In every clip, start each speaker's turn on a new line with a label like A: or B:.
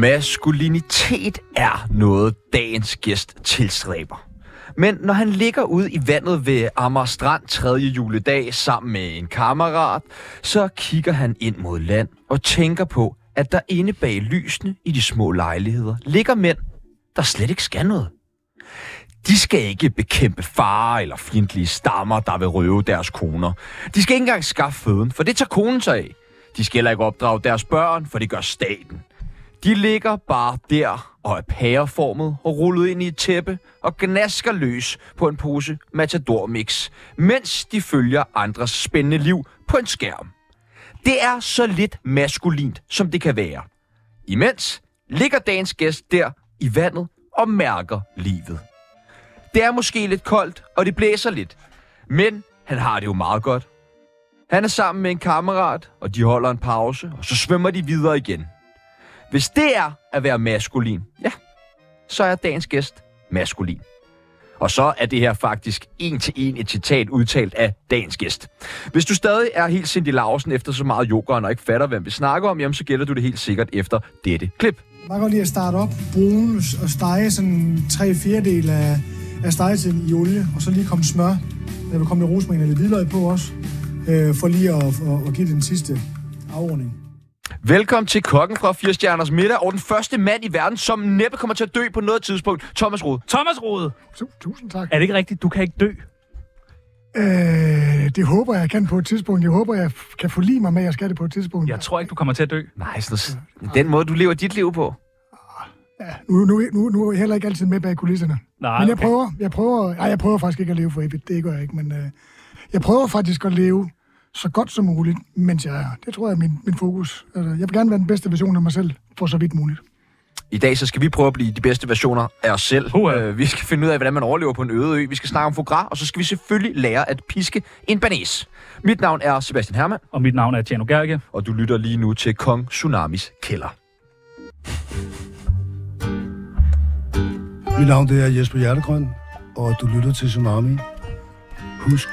A: Maskulinitet er noget, dagens gæst tilstræber. Men når han ligger ude i vandet ved Amager Strand 3. juledag sammen med en kammerat, så kigger han ind mod land og tænker på, at der inde bag lysene i de små lejligheder ligger mænd, der slet ikke skal noget. De skal ikke bekæmpe farer eller fjendtlige stammer, der vil røve deres koner. De skal ikke engang skaffe føden, for det tager konen sig af. De skal heller ikke opdrage deres børn, for det gør staten. De ligger bare der og er pæreformet og rullet ind i et tæppe og gnasker løs på en pose Matador Mix, mens de følger andres spændende liv på en skærm. Det er så lidt maskulint, som det kan være. Imens ligger dagens gæst der i vandet og mærker livet. Det er måske lidt koldt, og det blæser lidt. Men han har det jo meget godt. Han er sammen med en kammerat, og de holder en pause, og så svømmer de videre igen. Hvis det er at være maskulin, ja, så er dagens gæst maskulin. Og så er det her faktisk en til en et citat udtalt af dagens gæst. Hvis du stadig er helt Cindy Larsen efter så meget yogaen og ikke fatter, hvem vi snakker om, jamen så gælder du det helt sikkert efter dette klip.
B: Man kan godt lide at starte op, brune og stege sådan tre fjerdedel af, af stegetiden i olie, og så lige komme smør. Der vil komme lidt rosmarin og lidt hvidløg på også, øh, for lige at, at, at give det den sidste afrunding.
A: Velkommen til kokken fra 4 Stjerners Middag, og den første mand i verden, som næppe kommer til at dø på noget tidspunkt, Thomas Rode.
C: Thomas Rode,
B: Tu- Tusind tak.
C: er det ikke rigtigt? Du kan ikke dø.
B: Øh, det håber jeg, jeg kan på et tidspunkt. Jeg håber, jeg f- kan forlige mig med, at jeg skal det på et tidspunkt.
C: Jeg tror ikke, du kommer til at dø.
A: Nej, sådan den måde, du lever dit liv på.
B: Ja, nu, nu, nu, nu er jeg heller ikke altid med bag kulisserne.
C: Nej,
B: men jeg
C: okay.
B: prøver, jeg prøver, nej, jeg prøver faktisk ikke at leve for evigt, det gør jeg ikke, men øh, jeg prøver faktisk at leve så godt som muligt, mens jeg er her. Det tror jeg er min, min fokus. Altså, jeg vil gerne være den bedste version af mig selv, for så vidt muligt.
A: I dag så skal vi prøve at blive de bedste versioner af os selv.
C: Uha.
A: Øh, vi skal finde ud af, hvordan man overlever på en øde ø. Vi skal snakke om foie gras, og så skal vi selvfølgelig lære at piske en banæs. Mit navn er Sebastian Hermann,
C: Og mit navn er Tjano Gerke.
A: og du lytter lige nu til Kong Tsunamis kælder.
D: Mit navn det er Jesper Hjertegrøn, og du lytter til Tsunami. Husk.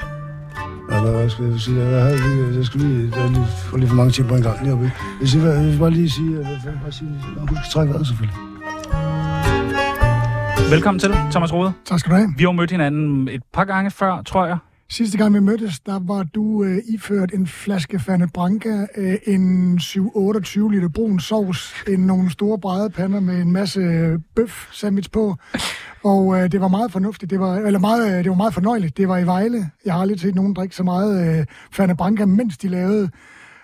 D: Ja, hvad, hvad skal jeg sige? Jeg, havde lige, jeg skal lige, der er lige, for lige for mange ting på en gang lige oppe. i. Jeg skal, jeg skal bare lige sige, at jeg bare sige, Nå, husk at trække vejret selvfølgelig.
C: Velkommen til, Thomas Rode.
B: Tak skal du have.
C: Vi har jo mødt hinanden et par gange før, tror jeg.
B: Sidste gang vi mødtes, der var du øh, iført en flaske Fanta Branca, øh, en 7-28 liter brun sovs, en, nogle store bredepander med en masse øh, bøf sandwich på. Og øh, det var meget fornuftigt, det var, eller meget, øh, det var meget fornøjeligt. Det var i Vejle. Jeg har aldrig set nogen drikke så meget øh, Fanta Branca, mens de lavede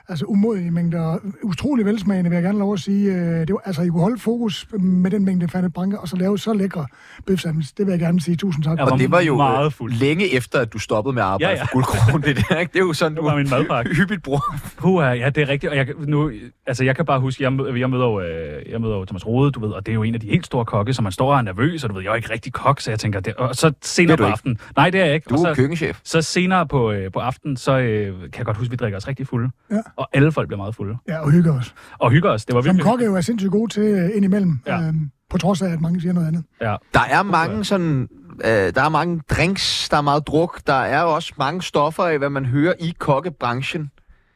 B: altså umodige mængder, utrolig velsmagende, vil jeg gerne lov at sige. Øh, Det var, altså, I kunne holde fokus med den mængde Fanta Branca, og så lave så lækre bøf sandwich. Det vil jeg gerne sige tusind tak.
C: Ja,
B: for.
C: Jeg
A: Og
C: var
A: det var jo
C: meget
A: øh,
C: fuld.
A: længe efter, at du stoppede med at arbejde ja,
C: Ja,
A: ja.
C: ja.
A: for guldkronen. Det, der, ikke? det er jo sådan,
C: var min madpakke.
A: du hyppigt bruger.
C: Puha, ja, det er rigtigt. Og jeg, kan- nu, altså, jeg kan bare huske, jeg møder, jeg, møder jo, øh, jeg møder jo Thomas Rode, du ved, og det er jo en af de helt store kokke, så man står og er nervøs, og du ved, jeg er ikke rigtig kok, så jeg tænker, det, og så
A: Det
C: senere
A: er
C: på
A: du ikke.
C: aftenen. Nej, det er jeg ikke.
A: Du
C: og
A: er
C: så,
A: jo køkkenchef.
C: så senere på, øh, på aftenen, så øh, kan jeg godt huske, vi drikker os rigtig fulde.
B: Ja.
C: Og alle folk bliver meget fulde.
B: Ja, og hygge os.
C: Og hygger os. Det var
B: Som
C: virkelig...
B: kokke jo er sindssygt gode til øh, indimellem,
C: Ja.
B: ja. øhm, på trods af, at mange siger noget andet.
C: Ja.
A: Der er mange sådan... Øh, der er mange drinks, der er meget druk, der er også mange stoffer i, hvad man hører i kokkebranchen.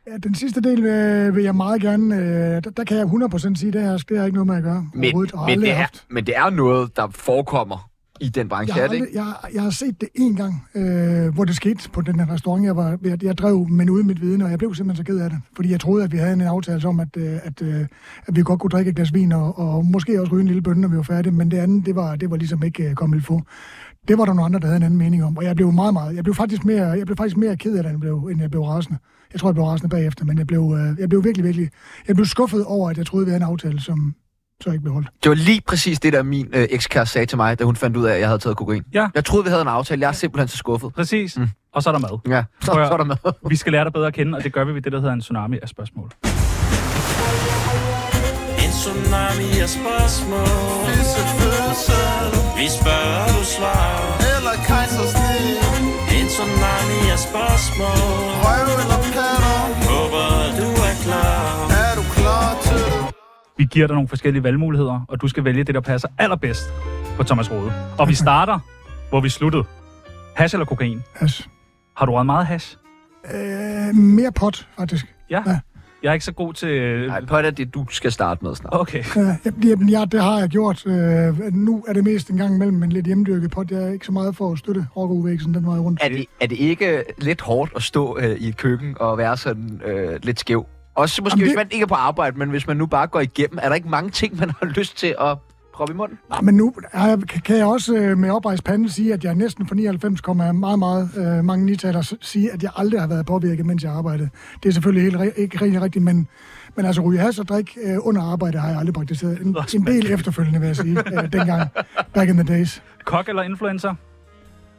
B: Ja, den sidste del øh, vil jeg meget gerne, øh, der, der kan jeg 100% sige, det her det har ikke noget med at gøre
A: Men,
B: overhovedet, og
A: men,
B: aldrig
A: det er,
B: haft.
A: men det er noget, der forekommer i den branche,
B: Jeg
A: er
B: har,
A: det ikke?
B: aldrig, jeg, jeg har set det en gang, øh, hvor det skete på den her restaurant, jeg, var, jeg, jeg drev, men uden mit viden, og jeg blev simpelthen så ked af det. Fordi jeg troede, at vi havde en aftale om, at, øh, at, øh, at vi godt kunne drikke et glas vin, og, og måske også ryge en lille bønne, når vi var færdige. Men det andet, det var, det var ligesom ikke øh, kommet få. Det var der nogle andre, der havde en anden mening om. Og jeg blev meget, meget... Jeg blev faktisk mere, jeg blev faktisk mere ked af det, end jeg blev, end jeg blev rasende. Jeg tror, jeg blev rasende bagefter, men jeg blev, øh, jeg blev virkelig, virkelig... Jeg blev skuffet over, at jeg troede, vi havde en aftale, som så ikke blev holdt.
A: Det var lige præcis det, der min øh, ekskæreste sagde til mig, da hun fandt ud af, at jeg havde taget kokain.
C: Ja.
A: Jeg troede, vi havde en aftale. Jeg er simpelthen så skuffet.
C: Præcis. Mm. Og så er der mad.
A: Ja, så, så
C: Prøv at-
A: er der med.
C: Vi skal lære dig bedre at kende, og det gør vi ved det, der hedder en tsunami af spørgsmål.
E: En tsunami af spørgsmål Vi spørger, du svarer
F: Eller kejsersnit
E: En tsunami af spørgsmål
F: Røv eller patter
E: Håber, du er klar
F: Er du klar til det?
C: Vi giver dig nogle forskellige valgmuligheder, og du skal vælge det, der passer allerbedst på Thomas Rode. Og vi starter, hvor vi sluttede. Hash eller kokain?
B: Altså,
C: Har du røget meget hash?
B: øh, mere pot, faktisk.
C: Ja.
B: Ja.
C: Jeg er ikke så god til...
A: Nej, pot er det, du skal starte med snart.
C: Okay.
B: Ja, jamen, ja, det har jeg gjort. Øh, nu er det mest en gang imellem en lidt hjemdyrket pot. Jeg er ikke så meget for at støtte rockerudvæksten den vej rundt.
A: Er det, er det ikke lidt hårdt at stå øh, i et køkken og være sådan øh, lidt skæv? Også måske,
B: Jamen,
A: Jamen,
B: det-
A: hvis man ikke er på arbejde, men hvis man nu bare går igennem, er der ikke mange ting, man har lyst til at proppe i munden?
B: Nej, Ah, men nu er jeg, kan- kan jeg også øh, med oprejst pande sige, at jeg næsten på 99, komma meget, meget øh, mange nitaler s- sige, at jeg aldrig har været påvirket, mens jeg arbejdede. Det er selvfølgelig helt, ri- ikke rigtig rigtigt, men, men altså ryge has og drik øh, under arbejde har jeg aldrig praktiseret. En, en del efterfølgende, vil jeg sige, øh, dengang, back in the days.
C: Kok eller influencer?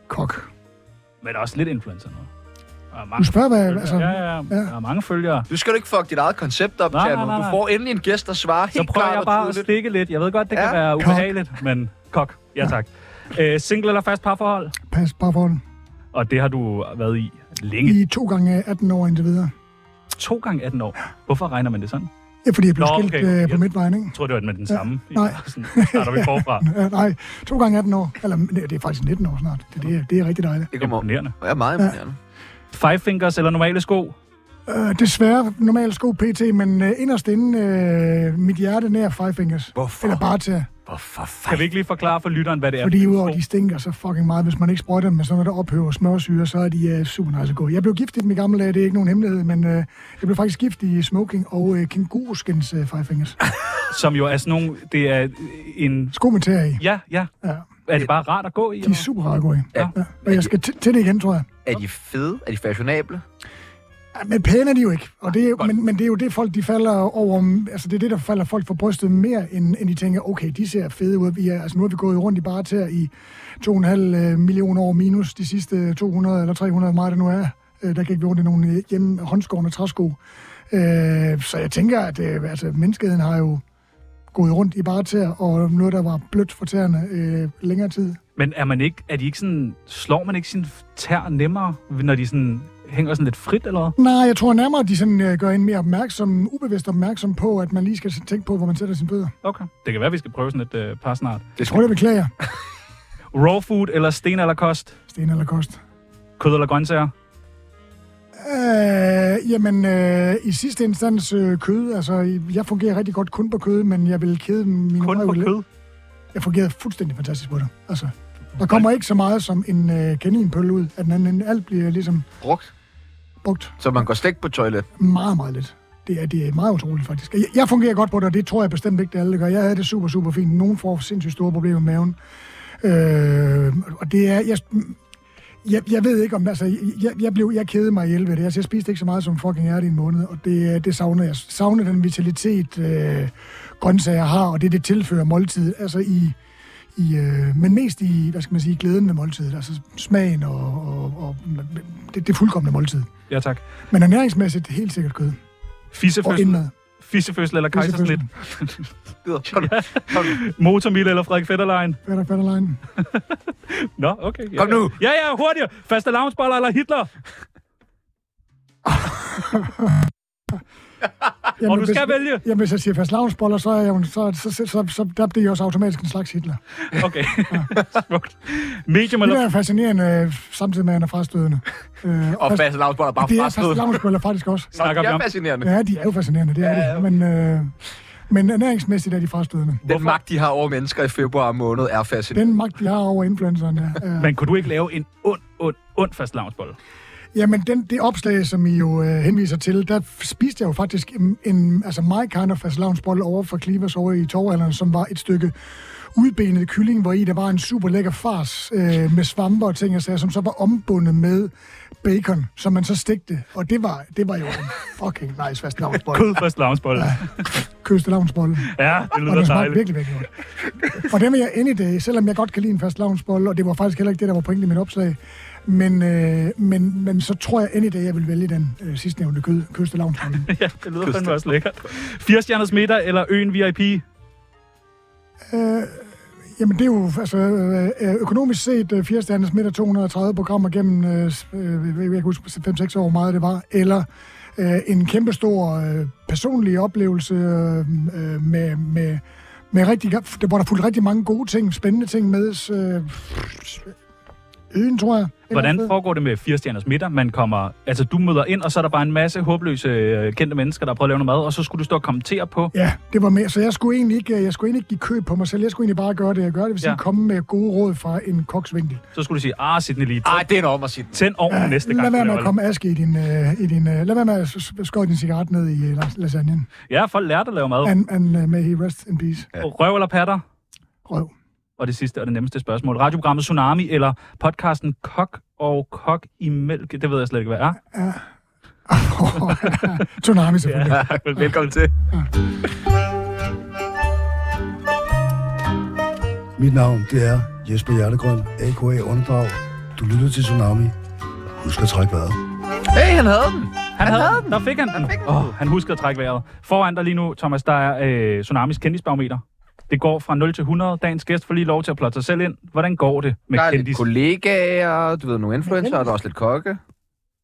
B: Kok.
C: Men også lidt influencer noget. Der er
B: Du
C: mange
B: spørger, hvad,
C: følgere.
B: altså,
C: Ja, ja, ja. Der er mange følgere.
A: Du skal jo ikke fuck dit eget koncept op,
C: Nej,
A: Tjerno.
C: nej, nej,
A: Du
C: nej.
A: får endelig en gæst, der svarer
C: Så
A: helt
C: prøver
A: klart
C: jeg
A: og
C: bare at
A: tydeligt.
C: stikke lidt. Jeg ved godt, det
A: Ja.
C: kan være ubehageligt, men kok. Ja, tak. Øh, single eller fast parforhold?
B: pas bare for den.
C: Og det har du været i længe.
B: I to gange 18 år indtil videre.
C: To gange 18 år. Hvorfor regner man det sådan? Jeg
B: Ja, fordi jeg blev
C: Nå,
B: skilt
C: okay.
B: okay. øh, på
C: Ja.
B: midtvejen, ikke?
C: tror, det var med den samme.
B: Ja, nej.
C: Sådan starter vi forfra.
B: Ja, Øh, nej, to gange 18 år. Eller nej, det er faktisk 19 år snart. Det, det, er, det er rigtig dejligt.
A: Det kommer
C: Imponerende.
A: Ja, meget imponerende.
C: Five fingers eller normale sko?
B: Øh, desværre normalt sko PT, men øh, inderst inde øh, mit hjerte nær Five Fingers.
A: Hvorfor?
B: Eller bare til.
A: Hvorfor
C: Kan vi
A: fuck?
C: ikke lige forklare for lytteren, hvad det er?
B: Fordi
C: for
B: udover
C: sko?
B: de stinker så fucking meget, hvis man ikke sprøjter dem med sådan noget, der ophøver smørsyre, så er de øh, super nice at gå. i. Jeg blev gift i dem i gamle dage, det er ikke nogen hemmelighed, men øh, jeg blev faktisk gift i smoking og øh, kænguruskins øh, Five Fingers.
C: Som jo er sådan nogle... Det er en...
B: Sko med tæer i.
C: Ja, ja.
B: Ja,
C: Er det bare rart at gå i?
B: de
C: eller?
B: er super rare at gå i.
A: Ja.
B: Ja. Ja. Og jeg skal t- til det igen, tror jeg.
A: Er de fede? Er de fashionable?
B: Ja, men pæne er de jo ikke. Og det er, jo- men, men det er jo det, folk de falder over. Altså, det er det, der falder folk for brystet mere, end, end de tænker, okay, de ser fede ud. Vi er, altså, nu har vi gået rundt i bare til i 2,5 øh, millioner år minus de sidste 200 eller 300, hvor meget det nu er. Øh, Der gik vi rundt i nogle øh, hjemme håndskårende træsko. Øh, så jeg tænker, at øh, altså, menneskeheden har jo gået rundt i bare til og noget, der var blødt for tæerne øh, længere tid.
C: Men er man ikke, er de ikke sådan, slår man ikke sin tær nemmere, når de sådan hænger sådan lidt frit eller hvad?
B: Nej, jeg tror nærmere, at de sådan, øh, gør en mere opmærksom, ubevidst opmærksom på, at man lige skal tænke på, hvor man sætter sin bøder.
C: Okay. Det kan være, vi skal prøve sådan et øh, par snart.
B: Jeg tror, det beklager.
C: Raw food eller sten eller kost?
B: Sten eller kost?
C: Kød eller grøntsager?
B: Øh, jamen, øh, i sidste instans øh, kød. Altså, i- jeg fungerer rigtig godt kun på kød, men jeg vil kede min
C: Kun på kød?
B: Jeg fungerer fuldstændig fantastisk på det. Altså, der kommer ikke så meget som en øh, kaninpølle ud af den anden ende. Alt bliver ligesom
A: Brugt?
B: brugt
A: Så man går slet på toilet?
B: meget, meget lidt. Det er, det er meget utroligt, faktisk. Jeg, jeg fungerer godt på det, og det tror jeg bestemt ikke, det alle gør. Jeg havde det super, super fint. Nogen får sindssygt store problemer med maven. Øh, og det er... Jeg, jeg, jeg ved ikke om... Altså, jeg, jeg, blev, jeg kedede mig ihjel ved det. Altså, jeg spiste ikke så meget som fucking er det i en måned, og det, øh, det savner jeg. Savner den vitalitet, øh, grøntsager har, og det, det tilfører måltid. Altså, i, i, øh, men mest i, hvad skal man sige, glæden ved måltidet. Altså, smagen og, og, og det, det fuldkommende måltid.
C: Ja, tak.
B: Men ernæringsmæssigt, helt sikkert kød. Og
C: Fissefødsel,
B: indmad.
C: fissefødsel eller kejsersnit?
A: Gider. Kom, nu. kom, nu.
C: Motormil eller Frederik Fetterlein?
B: Fætter, fætterlejen.
C: Nå, okay. Ja,
A: Kom nu.
C: Ja, ja, hurtigere. Faste lavnsboller eller Hitler?
B: Jamen,
C: Og du skal
B: hvis,
C: vælge.
B: Jamen, hvis jeg siger fast lavnsboller, så, er jeg, jo- så, så, så, så, så der bliver jeg også automatisk en slags Hitler.
C: Okay. Smukt. Medium
B: Det der
C: eller...
B: er fascinerende, øh, samtidig med, at han er frastødende. Øh,
A: Og fast lavsmål er bare
B: det er
A: frastød.
B: fast lavnsboller faktisk også.
C: Snakker
A: Det
C: vi
A: er
C: om
A: fascinerende.
B: Ja, de er jo fascinerende, det er ja, de. Men, øh, men ernæringsmæssigt er de frastødende.
A: Den magt, de har over mennesker i februar måned, er fascinerende.
B: Den magt, de har over influencerne. Øh,
C: Men kunne du ikke lave en ond, ond, ond fast lavnsbolle?
B: Jamen, den, det opslag, som I jo øh, henviser til, der f- spiste jeg jo faktisk en, en altså my kind of fastelavnsbolle over for Klivers over i Torvalderen, som var et stykke udbenet kylling, hvor i der var en super lækker fars øh, med svampe og ting og sager, som så var ombundet med bacon, som man så stegte. Og det var, det var jo en fucking nice fastelavnsbolle.
C: Kød fast lavnsbolle.
B: Køstelavnsbolle.
C: Ja, det
B: Og
C: lyder
B: det smagte
C: dejligt.
B: virkelig, virkelig godt. Og det vil jeg any day, selvom jeg godt kan lide en fast lavnsbolle, og det var faktisk heller ikke det, der var pointen i mit opslag. Men, øh, men, men så tror jeg any day, jeg vil vælge den øh, sidstnævnte kød, køste lavnsbolle.
C: Ja, det lyder fandme også lækkert. Firestjerners middag eller øen VIP?
B: Jamen det er jo altså, øh, øh, økonomisk set øh, firestjerners middag 230 programmer gennem, øh, s- øh, jeg kan ikke huske 5-6 år, hvor meget det var, eller øh, en kæmpestor øh, personlig oplevelse øh, øh, med, med, med rigtig, der- hvor der fulgte rigtig mange gode ting, spændende ting med. Øh, Øen, tror jeg. Et eller
C: Hvordan
B: andet
C: foregår det med fire stjerners middag? Man kommer, altså du møder ind, og så er der bare en masse håbløse øh, kendte mennesker, der prøver at lave noget mad, og så skulle du stå og kommentere på.
B: sted. Ja, det var med. Så jeg skulle egentlig ikke, øh, jeg skulle egentlig ikke give køb på mig selv. Jeg skulle egentlig bare gøre det, jeg gør. Det vil sige,
C: Ja.
B: ja. komme med gode råd fra en koksvinkel.
C: Så skulle du sige, ah, Sidney lige,
A: Ej, det er nok om at sige den.
C: tænd ovnen næste gang.
B: Lad
C: du
B: være med
C: laver
B: at
C: det."
B: komme aske i din... Øh, i din øh, lad være med at s- s- skåre din cigaret ned i øh, las- lasagnen.
C: Ja, folk lærte at lave mad.
B: And, and uh, may he rest in peace.
C: Røv eller patter?
B: Røv.
C: Og det sidste og det nemmeste spørgsmål. Radioprogrammet Tsunami eller podcasten Kok og Kok i Mælk? Det ved jeg slet ikke, hvad er.
B: Tsunami selvfølgelig. Ja.
A: Velkommen til.
D: Mit navn, det er Jesper Hjertegrøn, A.K.A. Underdrag. Du lytter til Tsunami. Husk at trække vejret.
A: Hey, han havde den.
C: Han, han havde den. Der fik han den. Han, oh, han husker at trække vejret. Foran dig lige nu, Thomas, der er øh, Tsunamis kendisbarometer. Det går fra 0 til 100. Dagens gæst får lige lov til at plotte sig selv ind. Hvordan går det med
A: Der er
C: kendis?
A: lidt kollegaer, du ved, nogle influencer, og der er også lidt kokke.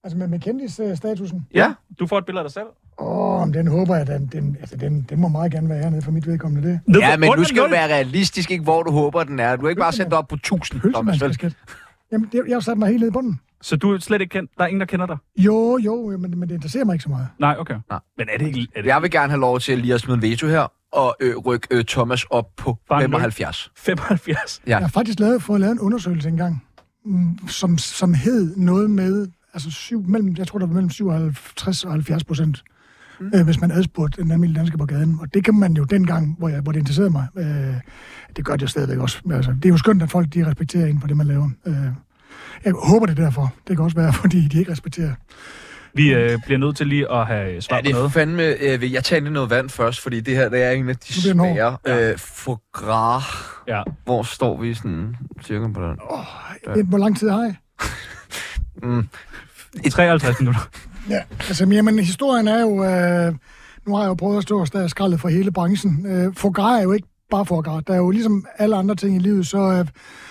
B: Altså med, med kendis-statusen.
A: Ja.
C: Du får et billede af dig selv.
B: Åh, oh, den håber jeg, den, den, altså, den, den må meget gerne være hernede for mit vedkommende. Det
C: Ned
A: Ja,
C: på
A: men
C: under
A: du skal jo
C: nul.
A: være realistisk, ikke hvor du håber, den er. Du kan ikke bare sætte dig op på 1000. Thomas.
B: pølsemandsbasket. Jamen, det, jeg har sat mig helt ned i bunden.
C: Så du er slet ikke kendt? Der er ingen, der kender dig?
B: Jo, jo, men, men det interesserer mig ikke så meget.
C: Nej, okay.
A: Nej.
C: Men er det ikke... Er det
A: Jeg vil gerne have lov til lige at smide en veto her, og øh, rykke øh, Thomas op på
C: Bare en nul.
A: 75.
C: 75?
A: Ja.
B: Jeg har faktisk lavet, fået lavet en undersøgelse engang, mm, som, som hed noget med, altså syv, mellem, jeg tror, der var mellem 57 og 70 procent, mm. øh, hvis man adspurgte en almindelig dansker på gaden. Og det kan man jo dengang, hvor, jeg, hvor det interesserede mig. Øh, det gør det jo stadigvæk også. Men Altså, det er jo skønt, at folk de respekterer en for det, man laver. Øh, jeg håber det er derfor. Det kan også være, fordi de ikke respekterer.
C: Vi øh, bliver nødt til lige at have svar
A: Ja,
C: ja, på
A: det er
C: noget.
A: fandme... Øh, vil jeg tage lige noget vand først, fordi det her det er en af de
B: bliver den
A: svære øh, fogra.
C: Ja.
A: Hvor står vi sådan cirka på den?
B: Ja. Hvor lang tid har jeg?
C: 53 minutter.
B: Ja, altså, men, jamen, historien er jo... Øh, nu har jeg jo prøvet at stå og stå skraldet for hele branchen. Øh, forgræ er jo ikke bare forgræ. Der er jo ligesom alle andre ting i livet, så, øh,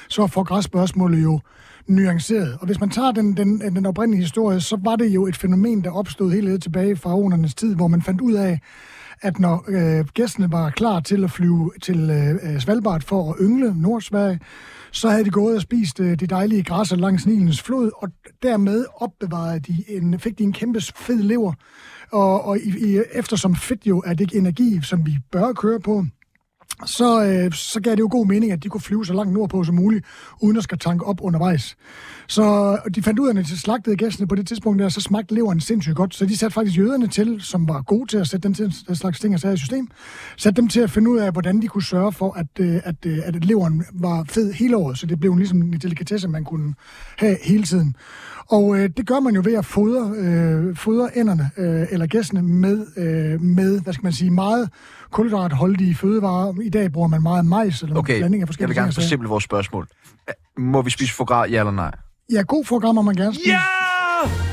B: så er forgræsspørgsmålet jo nuanceret. Og hvis man tager den, den, den oprindelige historie, så var det jo et fænomen, der opstod helt ned tilbage fra ånernes tid, hvor man fandt ud af, at når øh, gæsterne var klar til at flyve til øh, øh, Svalbard for at yngle Nordsverige, så havde de gået og spist øh, det dejlige græs langs Nilens flod, og dermed opbevarede de en, fik de en kæmpe fed lever. Og, og i, i, eftersom fedt jo er det ikke energi, som vi bør køre på, så, øh, så gav det jo god mening, at de kunne flyve så langt nordpå som muligt, uden at skal tanke op undervejs. Så og de fandt ud af, at når de slagtede gæstene på det tidspunkt der, så smagte leveren sindssygt godt. Så de satte faktisk jøderne til, som var gode til at sætte den, til, den slags ting og sager i system, satte dem til at finde ud af, hvordan de kunne sørge for, at, øh, at, øh, at leveren var fed hele året. Så det blev ligesom en delikatesse, man kunne have hele tiden. Og øh, det gør man jo ved at fodre, øh, fodre ænderne øh, eller gæstene med, øh, med, hvad skal man sige, meget kulhydratholdige fødevarer. I dag bruger man meget majs eller okay.
A: Okay,
B: blanding af
A: jeg
B: forskellige
A: vil gerne
B: ting og sager.
A: forsimple vores spørgsmål. Må vi spise fogra, ja eller nej?
B: Ja, god forgrammer man gerne spise.
C: Ja!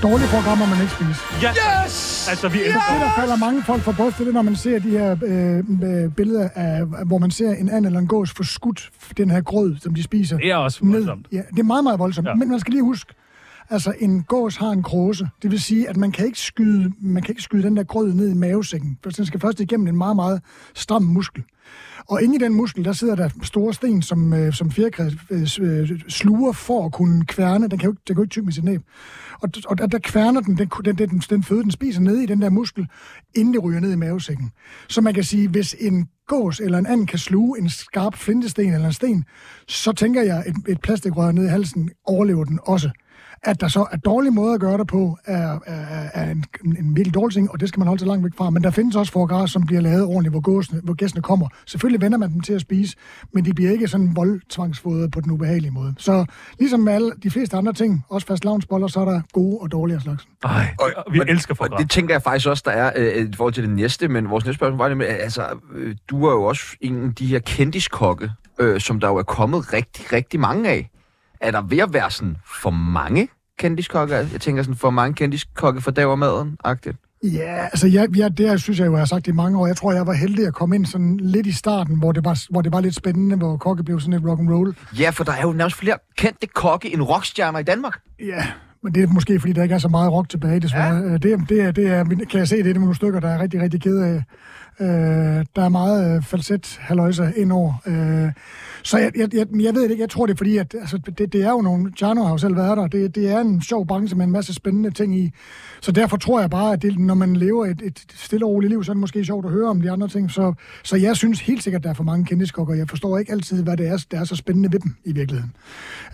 B: Dårlige forgrammer man ikke spise.
C: Yes! yes! Altså, vi elsker
B: Det, der falder mange folk for brystet, det er, når man ser de her øh, øh, billeder, af, hvor man ser en and eller en gås få skudt den her grød, som de spiser.
C: Det er også voldsomt.
B: Ja, det er meget, meget voldsomt.
C: Ja.
B: Ja. Men man skal lige huske, altså en gås har en kråse. Det vil sige, at man kan ikke skyde, man kan ikke skyde den der grød ned i mavesækken. For den skal først igennem en meget, meget stram muskel. Og inde i den muskel, der sidder der store sten, som, øh, som fjerkræ øh, s- øh, sluger for at kunne kværne. Den kan jo ikke, den kan jo ikke tykke med sit næb. Og, og der, der kværner den den, den, den, den føde, den spiser nede i den der muskel, inden det ryger ned i mavesækken. Så man kan sige, hvis en gås eller en anden kan sluge en skarp flintesten eller en sten, så tænker jeg, et, et plastikrør ned i halsen overlever den også. At der så er dårlige måder at gøre det på, er, er, er en, en virkelig dårlig ting, og det skal man holde sig langt væk fra. Men der findes også forgræs, som bliver lavet ordentligt, hvor, gåsene, hvor gæstene kommer. Selvfølgelig vender man dem til at spise, men de bliver ikke sådan voldtvangsfodret på den ubehagelige måde. Så ligesom med alle de fleste andre ting, også fast lavnsboller, så er der gode og dårlige af slagsen.
C: Ej, vi elsker
A: Og
C: forret.
A: det tænker jeg faktisk også, der er øh, i forhold til det næste, men vores næste spørgsmål var nemlig, øh, altså, øh, du er jo også en af de her kendiskokke, øh, som der jo er kommet rigtig, rigtig mange af. Er der ved at være sådan for mange kendiskokke? Jeg tænker sådan for mange kendiskokke for dagermaden agtigt
B: Ja, altså jeg, jeg, det jeg synes jeg jo, jeg har sagt i mange år. Jeg tror, jeg var heldig at komme ind sådan lidt i starten, hvor det var, hvor det var lidt spændende, hvor kokke blev sådan lidt rock'n'roll.
A: Ja, for der er jo nærmest flere kendte kokke end rockstjerner i Danmark.
B: Ja, men det er måske, fordi Øh, der ikke er så meget rock tilbage, desværre. Ja. Det, er- det, er, det er, kan jeg se, det er nogle stykker, der er rigtig, rigtig ked af, Øh, der er meget øh, falset haløjser indover. Øh, så jeg, jeg, jeg, jeg ved det ikke. Jeg tror, det er fordi, at altså, det, det er jo nogle... Jarno har jo selv været der. Det, det er en sjov branche med en masse spændende ting i. Så derfor tror jeg bare, at det, når man lever et, et stille og roligt liv, så er det måske sjovt at høre om de andre ting. Så, så jeg synes helt sikkert, at der er for mange kendiskokker. Jeg forstår ikke altid, hvad det er, der er så spændende ved dem i virkeligheden.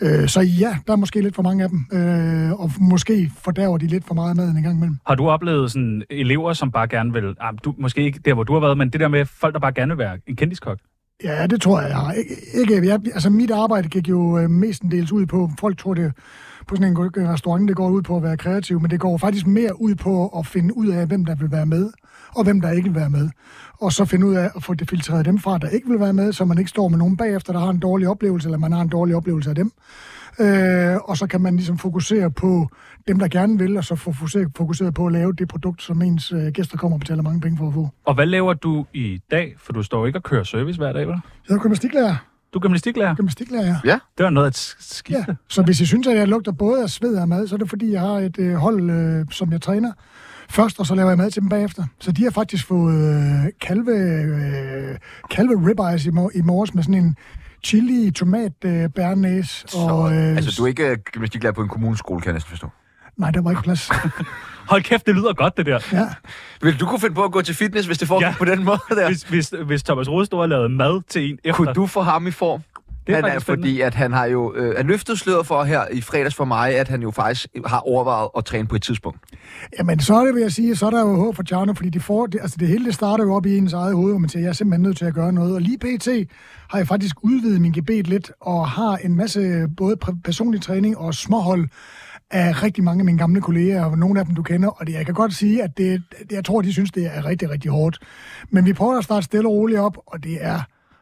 B: Øh, så ja, der er måske lidt for mange af dem. Øh, og måske fordærver de lidt for meget maden en gang imellem.
C: Har du oplevet sådan elever, som bare gerne vil... Ah, du, måske ikke der, hvor du har været, men det der med folk, der bare gerne vil være en kendiskok?
B: Ja, det tror jeg, jeg har. Ik- Ikke, jeg, altså, mit arbejde gik jo øh, mestendels ud på, folk tror det på sådan en øh, restaurant, det går ud på at være kreativ, men det går faktisk mere ud på at finde ud af, hvem der vil være med, og hvem der ikke vil være med. Og så finde ud af at få det filtreret dem fra, der ikke vil være med, så man ikke står med nogen bagefter, der har en dårlig oplevelse, eller man har en dårlig oplevelse af dem. Øh, og så kan man ligesom fokusere på dem, der gerne vil, og så fokusere, fokusere på at lave det produkt, som ens øh, gæster kommer og betaler mange penge for at få.
C: Og hvad laver du i dag? For du står jo ikke og kører service hver dag, vel?
B: Jeg er gymnastiklærer.
C: Du er gymnastiklærer.
B: Gymnastiklærer, ja.
C: Det var noget at skifte.
B: Ja, så hvis I synes, at jeg lugter både af sved og mad, så er det fordi, jeg har et øh, hold, øh, som jeg træner først, og så laver jeg mad til dem bagefter. Så de har faktisk fået øh, kalve, øh, kalve ribeyes i, mor- i morges med sådan en chili, tomat, øh, bearnaise. Og, øh,
A: altså, du er ikke øh, gymnastiklærer på en kommuneskole, kan jeg næsten forstå.
B: Nej, der var ikke plads.
C: Hold kæft, det lyder godt, det der.
B: Ja,
A: Vil du kunne finde på at gå til fitness, hvis det foregår
C: Ja.
A: ja. på den måde der?
C: Hvis, hvis, hvis Thomas Rodestore lavede mad til en efter...
A: Kunne du få ham i form?
C: Det er
A: han er,
C: faktisk spændende.
A: fordi at han har jo øh, han løftet sløret for her i fredags for mig, at han jo faktisk har overvejet at træne på et tidspunkt.
B: Jamen, så er det, vil jeg sige, så er der jo håb for Tjerno, fordi de får, det, altså det hele det starter jo op i ens eget hoved, hvor man siger, jeg er simpelthen nødt til at gøre noget. Og lige pt. har jeg faktisk udvidet min gebet lidt, og har en masse både pr- personlig træning og småhold af rigtig mange af mine gamle kolleger, og nogle af dem du kender, og det, jeg kan godt sige, at det, jeg tror, de synes, det er rigtig, rigtig hårdt. Men vi prøver at starte stille og roligt op, og det er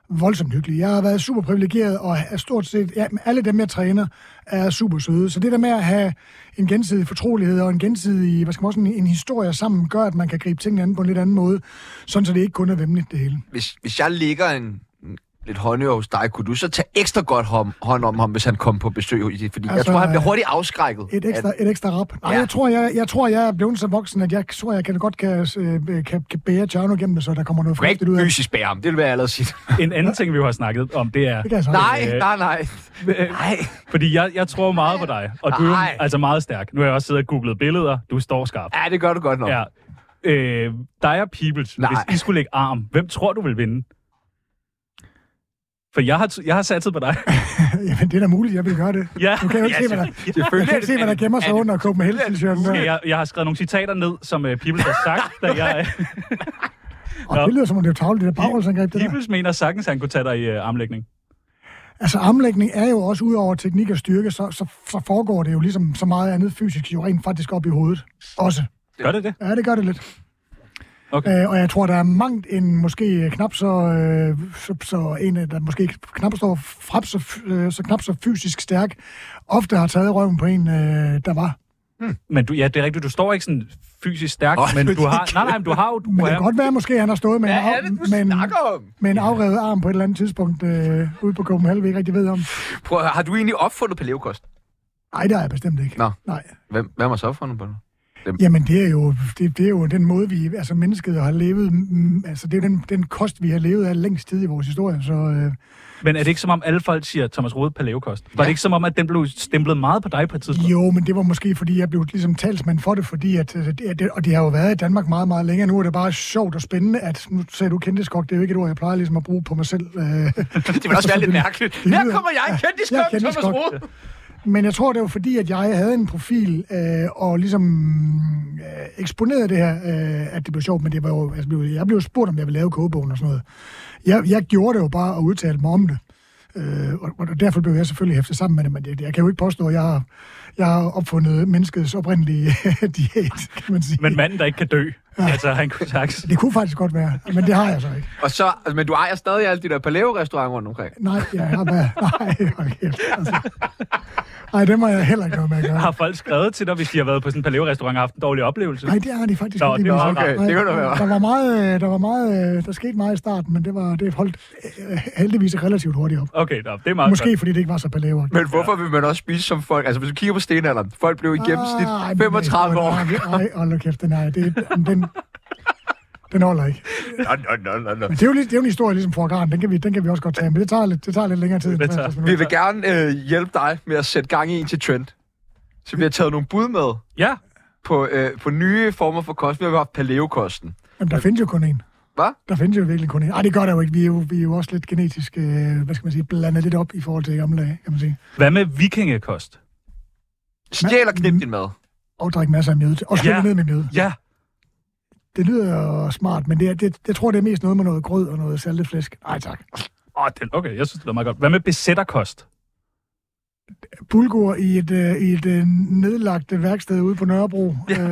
B: voldsomt hyggelig. Jeg har været super privilegeret, og er stort set ja, men alle dem, jeg træner, er super søde. Så det der med at have en gensidig fortrolighed og en gensidig, hvad skal man også, en, en historie sammen, gør, at man kan gribe tingene an på en lidt anden måde, sådan så det ikke kun er vemmeligt det hele.
A: Hvis, hvis jeg ligger en en lidt håndøver hos dig, kunne du så tage ekstra godt hånd, hånd om ham, hvis han kom på besøg? i det? Fordi altså, jeg
B: Altså,
A: tror, han bliver
B: øh,
A: hurtigt afskrækket.
B: Et ekstra,
A: at,
B: et ekstra rap. Nej,
A: Ja.
B: ja. jeg, tror, jeg, jeg tror, jeg er blevet så voksen, at jeg tror, jeg kan godt kan, øh, kan, kan bære Tjerno gennem det, så der kommer noget
A: du kan ikke
B: fornuftigt ud af det.
A: fysisk bære ham, det vil jeg allerede sige.
C: En anden ting, vi jo har snakket om, det er...
B: Det altså- kan jeg så
A: nej,
C: øh,
A: nej, nej.
C: øh,
A: Nej.
C: Fordi jeg, jeg tror meget på dig, og du er
A: Ej.
C: jo altså meget stærk. Nu har jeg også siddet og googlet billeder. Du står skarp.
A: Ja, det gør du godt nok.
C: Ja. Øh, dig og Peoples,
A: Nej.
C: Nej. hvis I skulle lægge arm, hvem tror du vil vinde? For jeg har, t- jeg har satset på dig.
B: Jamen, det er da muligt, jeg vil gøre det.
C: ja.
B: Du kan jo ikke
A: Ja,
B: se, hvad der,
A: selvfølgelig-
B: du kan jo ikke se, hvad der
A: selvfølgelig
B: gemmer sig
A: er det-
B: under Copenhagen-t-shirten. der.
C: Jeg, jeg har skrevet nogle citater ned, som uh, Peoples har sagt, da jeg...
B: Og
C: Nå.
B: det lyder som om det er tavlet, det der bagholdsangreb. Det der.
C: Peoples mener sagtens, han kunne tage dig i uh, armlægning.
B: Altså armlægning er jo også udover teknik og styrke, så, så, så foregår det jo ligesom så meget andet fysisk jo rent faktisk op i hovedet. Også.
C: Gør det det?
B: Ja, det gør det lidt.
C: Okay.
B: Øh, og jeg tror, der er mangt en måske knap så, øh, så, så en, der måske knap så, frap, så, f- øh, så knap så fysisk stærk, ofte har taget røven på en, øh, der var.
C: Men du, ja, det er rigtigt, du står ikke sådan fysisk stærk,
A: Nå,
C: men
A: det
C: du har... Nej, nej, men du har jo... Du
B: Men det
C: er,
B: kan godt være, måske han har stået med,
A: Hvad
B: en,
A: er
B: af-
A: det, du
B: med, en,
A: snakker om?
B: med en afrevet arm på et eller andet tidspunkt øh, ude på Copenhagen, vi ikke rigtig ved om.
A: Prøv, at høre, har du egentlig opfundet paleokost?
B: Nej, det har jeg bestemt ikke.
A: Nå.
B: Nej.
A: Hvem, hvem har så opfundet på det?
B: Jamen, det er jo, det, det er jo den måde, vi, altså mennesket har levet, mm, altså det er jo den, den kost, vi har levet af længst tid i vores historie, så øh,
C: men er det ikke som om, alle folk siger Thomas Rode paleokost? Var det ikke som om, at den blev stemplet meget på dig på et tidspunkt?
B: jo, men det var måske, fordi jeg blev ligesom talsmand for det, fordi at, øh, det, er- det, og det har jo været i Danmark meget, meget længere, nu er det bare sjovt og spændende, at, nu sagde du kendtiskok, det er jo ikke et ord, jeg plejer ligesom at bruge på mig selv. Øh,
A: Det vil også være lidt mærkeligt. Her kommer jeg,
B: Jeg er
A: kendiskok, Thomas
B: kendiskok.
A: Rode.
B: Men jeg tror, det var fordi, at jeg havde en profil øh, og ligesom øh, eksponerede det her, øh, at det blev sjovt, men det var jo, altså, blev- jeg blev spurgt, om jeg ville lave kogebogen og sådan noget. Jeg, jeg gjorde det jo bare og udtalte mig om det. Øh, og, og derfor blev jeg selvfølgelig hæftet sammen med det, men jeg, jeg kan jo ikke påstå, at jeg har, jeg har opfundet menneskets oprindelige diæt, kan man sige.
C: Men manden, der ikke kan dø. Altså, han kunne sagtens...
B: Det kunne faktisk godt være, men det har jeg så ikke.
A: Og så, altså, men du ejer stadig alle de der paleo-restauranter rundt omkring.
B: Nej, jeg har været... Nej, hold kæft, altså. Ej, det må jeg heller ikke noget med at gøre.
C: Har folk skrevet til dig, hvis de har været på sådan en paleo-restaurant og haft en dårlig oplevelse?
B: Nej, det har de faktisk
C: Nå,
B: ikke.
C: det var
B: Nej,
A: okay. Det kunne da være.
B: Der var meget, øh, der var meget, øh, der skete meget i starten, men det var det holdt øh, heldigvis relativt hurtigt op.
C: Okay, nå, det er meget
B: Måske fordi det ikke var så palæver.
A: Men hvorfor vil man også spise som folk? Altså, hvis du kigger på stenalderen,
B: Ah, øh,
A: folk blev i gennemsnit 35 år.
B: Nej, ej, hold nu kæft, nej. Det, den, Den holder ikke.
A: Nå, nå, nå, nå, nå.
B: Men det er jo, lige, det er jo en historie ligesom for orkan. Den kan vi, den kan vi også godt tage, men det tager lidt, det tager lidt længere tid. end
C: Det tager-
B: 53
A: Vi
B: minutter.
A: vil gerne øh, hjælpe dig med at sætte gang i en til trend. Så vi har taget nogle bud med
C: Ja,
A: på, øh, på nye former for kost. Vi har jo haft paleokosten.
B: Jamen, der findes jo kun en.
A: Hvad?
B: Der findes jo virkelig kun en. Ej, det gør der jo ikke. Vi er jo, vi er jo også lidt genetisk, øh, hvad skal man sige, blandet lidt op i forhold til gamle dage, kan man sige.
C: hvad med vikingekost?
A: Stjæl og knip din mad.
B: Og drikke masser af mjød. Og skylle
C: Ja.
B: ned med mjød.
C: Ja,
B: Det lyder smart, men det, er, det, jeg tror, det er mest noget med noget grød og noget saltet flæsk. Nej, tak.
C: Åh, den, okay, jeg synes, det er meget godt. Hvad med besætterkost?
B: Bulgur i et, øh, i et øh, nedlagt øh, værksted ude på Nørrebro. Øhm,
C: Ja.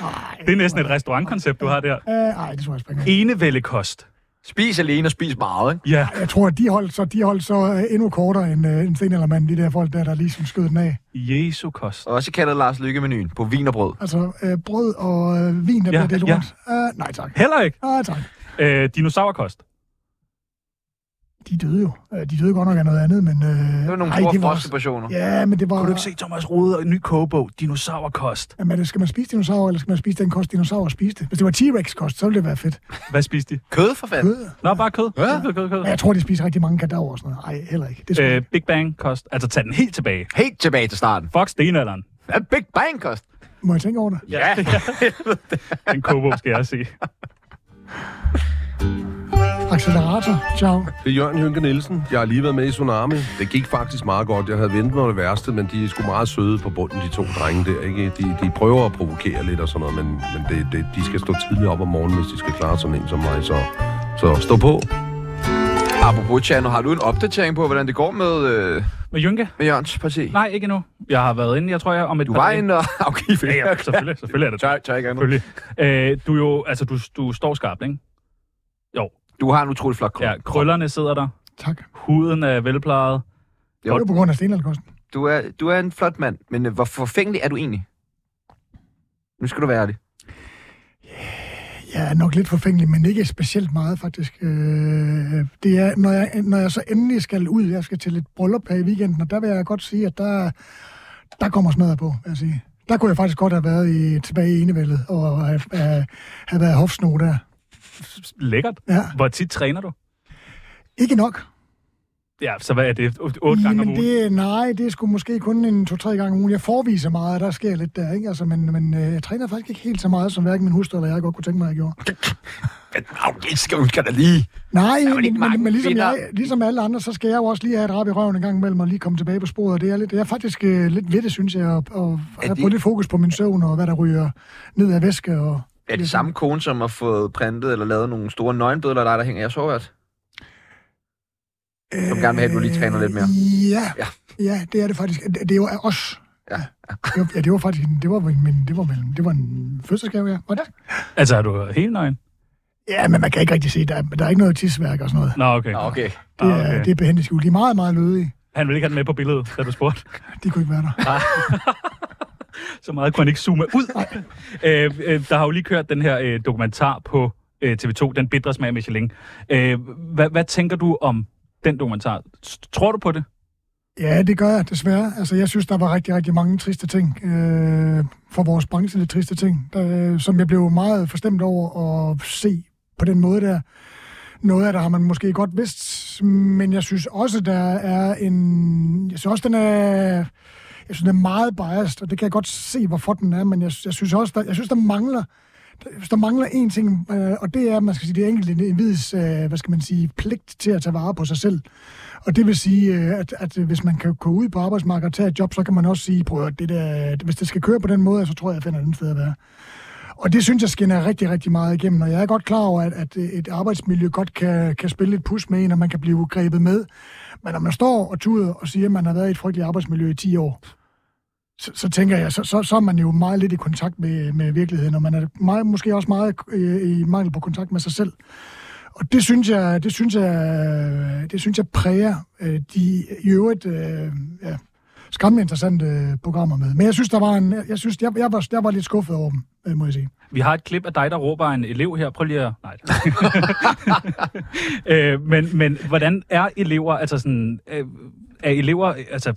B: nej,
C: Det er næsten et restaurantkoncept, du har der.
B: Øh, nej, det tror jeg springer.
C: Enevældekost.
A: Spis alene og spis meget, ikke?
C: Ja,
B: Jeg tror, at de holdt så, de holdt så øh, endnu kortere end, øh, end stenaldermanden, de der folk der, der ligesom skød den af.
C: Jesu kost.
A: Og også kaldet Lars Lykke-menuen på vin og brød.
B: Altså, øh, brød og øh, vin, der
C: Ja,
B: ja, bliver delt
C: ja.
B: ja. rundt. Øh, nej, tak.
C: Heller ikke.
B: Nej, tak.
C: Øh, dinosaurkost.
B: De døde jo. Øh, de døde godt nok af noget andet, men... Øh,
A: Det var nogle
B: ej,
A: store
B: det var
A: froste portioner.
B: Ja, men det var...
C: Kunne du ikke se Thomas Rode og en ny kogebog? Dinosaurkost.
B: Jamen, er det- skal man spise dinosaurer, eller skal man spise den kost, dinosaurer spiste? Hvis det var T-Rex-kost, så ville det være fedt.
C: Hvad spiste de?
A: Kød for fanden.
B: Kød.
C: Nå, bare kød. Ja. Kød, kød, kød.
B: Og jeg tror, de spiser rigtig mange kadaver og sådan noget. Nej, heller ikke. Det skulle
C: Øh,
B: øh.
C: Big Bang kost. Altså, tag den helt tilbage.
A: Helt tilbage til starten.
C: Fuck stenalderen.
A: Hvad er Big Bang kost?
B: Må jeg tænke over det?
A: Ja.
C: Den kogebog skal jeg også se.
B: Accelerator. Ciao.
G: Det er Jørgen Jynke Nielsen. Jeg har lige været med i Tsunami. Det gik faktisk meget godt. Jeg havde ventet mig det værste, men de er sgu meget søde på bunden, de to drenge der. Ikke? De, de prøver at provokere lidt og sådan noget, men, men det, det, de skal stå tidligt op om morgenen, hvis de skal klare sådan en som mig. Så, så stå på.
A: Apropos, Tjano, har du en opdatering på, hvordan det går med, øh,
C: Med Jynke?
A: med Jørgens parti?
C: Nej, ikke endnu. Jeg har været inde, jeg tror, jeg om et
A: Du
C: par
A: var
C: dage-
A: en og... Okay,
C: Ja, ja, selvfølgelig, selvfølgelig er det
A: Tør, tør ikke andet.
C: Selvfølgelig. Øh, du er jo, altså, du, du står skarpt, ikke? Jo,
A: Du har en utrolig flot krop.
C: ja, krøllerne sidder der.
B: Tak.
C: Huden er velplejet.
B: Det var på grund af stenalderkosten.
A: Du er, du er en flot mand, men øh, hvor forfængelig er du egentlig? Nu skal du være ærlig.
B: Ja, nok lidt forfængelig, men ikke specielt meget faktisk. Øh, det er, når jeg, når jeg så endelig skal ud, jeg skal til et bryllup her i weekenden, og der vil jeg godt sige, at der, der kommer smadret på, vil jeg sige. Der kunne jeg faktisk godt have været i, tilbage i enevældet, og have, have, have været hofsno der.
C: Lækkert.
B: Ja,
C: Hvor tit træner du?
B: ikke nok.
C: Ja, så hvad er det? 8 gange om
B: Jamen,
C: ugen?
B: det, nej, det er sgu måske kun en to-tre gange om ugen. Jeg forviser meget, og der sker lidt der, ikke? Altså, men, men øh, jeg træner faktisk ikke helt så meget, som hverken min hustru eller jeg godt kunne tænke mig, at jeg gjorde.
A: Men okay, skal du da lige.
B: Nej,
A: vel ikke
B: men,
A: mange
B: men, men ligesom,
A: kvinder?
B: jeg, ligesom alle andre, så skal jeg jo også lige have et rap i røven en gang imellem og lige komme tilbage på sporet. og Det er, lidt, det er faktisk øh, lidt ved det, synes jeg, at, at have
A: det-
B: fået lidt fokus på min søvn og hvad der ryger ned af væske. Og,
A: Er det samme kone, som har fået printet eller lavet nogle store nøgenbilleder af dig, der hænger i jeres soveværelse?
B: øh,
A: gerne vil have, at du lige træner lidt mere.
B: Ja,
A: Ja.
B: ja. ja det er det faktisk. Det, det er jo af os.
A: Ja.
B: Det var- Ja, det var faktisk en, det var min, min- det var min, det var en fødselsgave, ja. Var det?
C: Altså, er du helt nøgen?
B: Ja, men man kan ikke rigtig se, der, er- der er ikke noget tisværk og sådan noget.
C: Nå, okay.
A: Nå, okay.
B: Det
C: Ah,
B: er,
C: okay.
B: det er behændigt skjult. De er meget, meget lødige.
C: Han ville ikke have den med på billedet, da du spurgte.
B: De kunne ikke være der.
C: Så meget kunne han ikke zoome ud. øh, øh, der har jo lige kørt den her øh, dokumentar på øh, TV2, Den Bidre Smag af Michelin. Øh, hvad, hvad tænker du om den dokumentar? S- Tror du på det?
B: Ja, det gør jeg desværre. Altså, jeg synes, der var rigtig, rigtig mange triste ting øh, for vores branche, lidt triste ting, der, øh, som jeg blev meget forstemt over at se på den måde der. Noget af det har man måske godt vidst, men jeg synes også, der er en... Jeg synes også, den er... Jeg synes, den er meget biased, og det kan jeg godt se, hvorfor den er, men jeg, jeg synes også, der, jeg synes, der mangler der, der mangler en ting, øh, og det er, at man skal sige, det er enkelt en individs, øh, hvad skal man sige, pligt til at tage vare på sig selv. Og det vil sige, øh, at, at øh, hvis man kan gå ud på arbejdsmarkedet og tage et job, så kan man også sige, prøv at høre, det der, hvis det skal køre på den måde, så tror jeg, jeg finder et andet sted at være. Og det synes jeg skinner rigtig, rigtig meget igennem. Og jeg er godt klar over, at, at et arbejdsmiljø godt kan, kan spille et pus med en, og man kan blive grebet med. Men når man står og tuder og siger, at man har været i et frygteligt arbejdsmiljø i 10 år, så, så tænker jeg, så, så, så er man jo meget lidt i kontakt med, med virkeligheden, og man er meget, måske også meget øh, i mangel på kontakt med sig selv. Og det synes jeg, det synes jeg, det synes jeg præger øh, de i øvrigt øh, ja, skræmmende interessante øh, programmer med. Men jeg synes, der var en, jeg synes, jeg, jeg, var, jeg var lidt skuffet over dem, øh, må jeg sige.
C: Vi har et klip af dig, der råber en elev her. Prøv lige at... Nej. øh, men, men hvordan er elever, altså sådan... Øh, er elever, altså...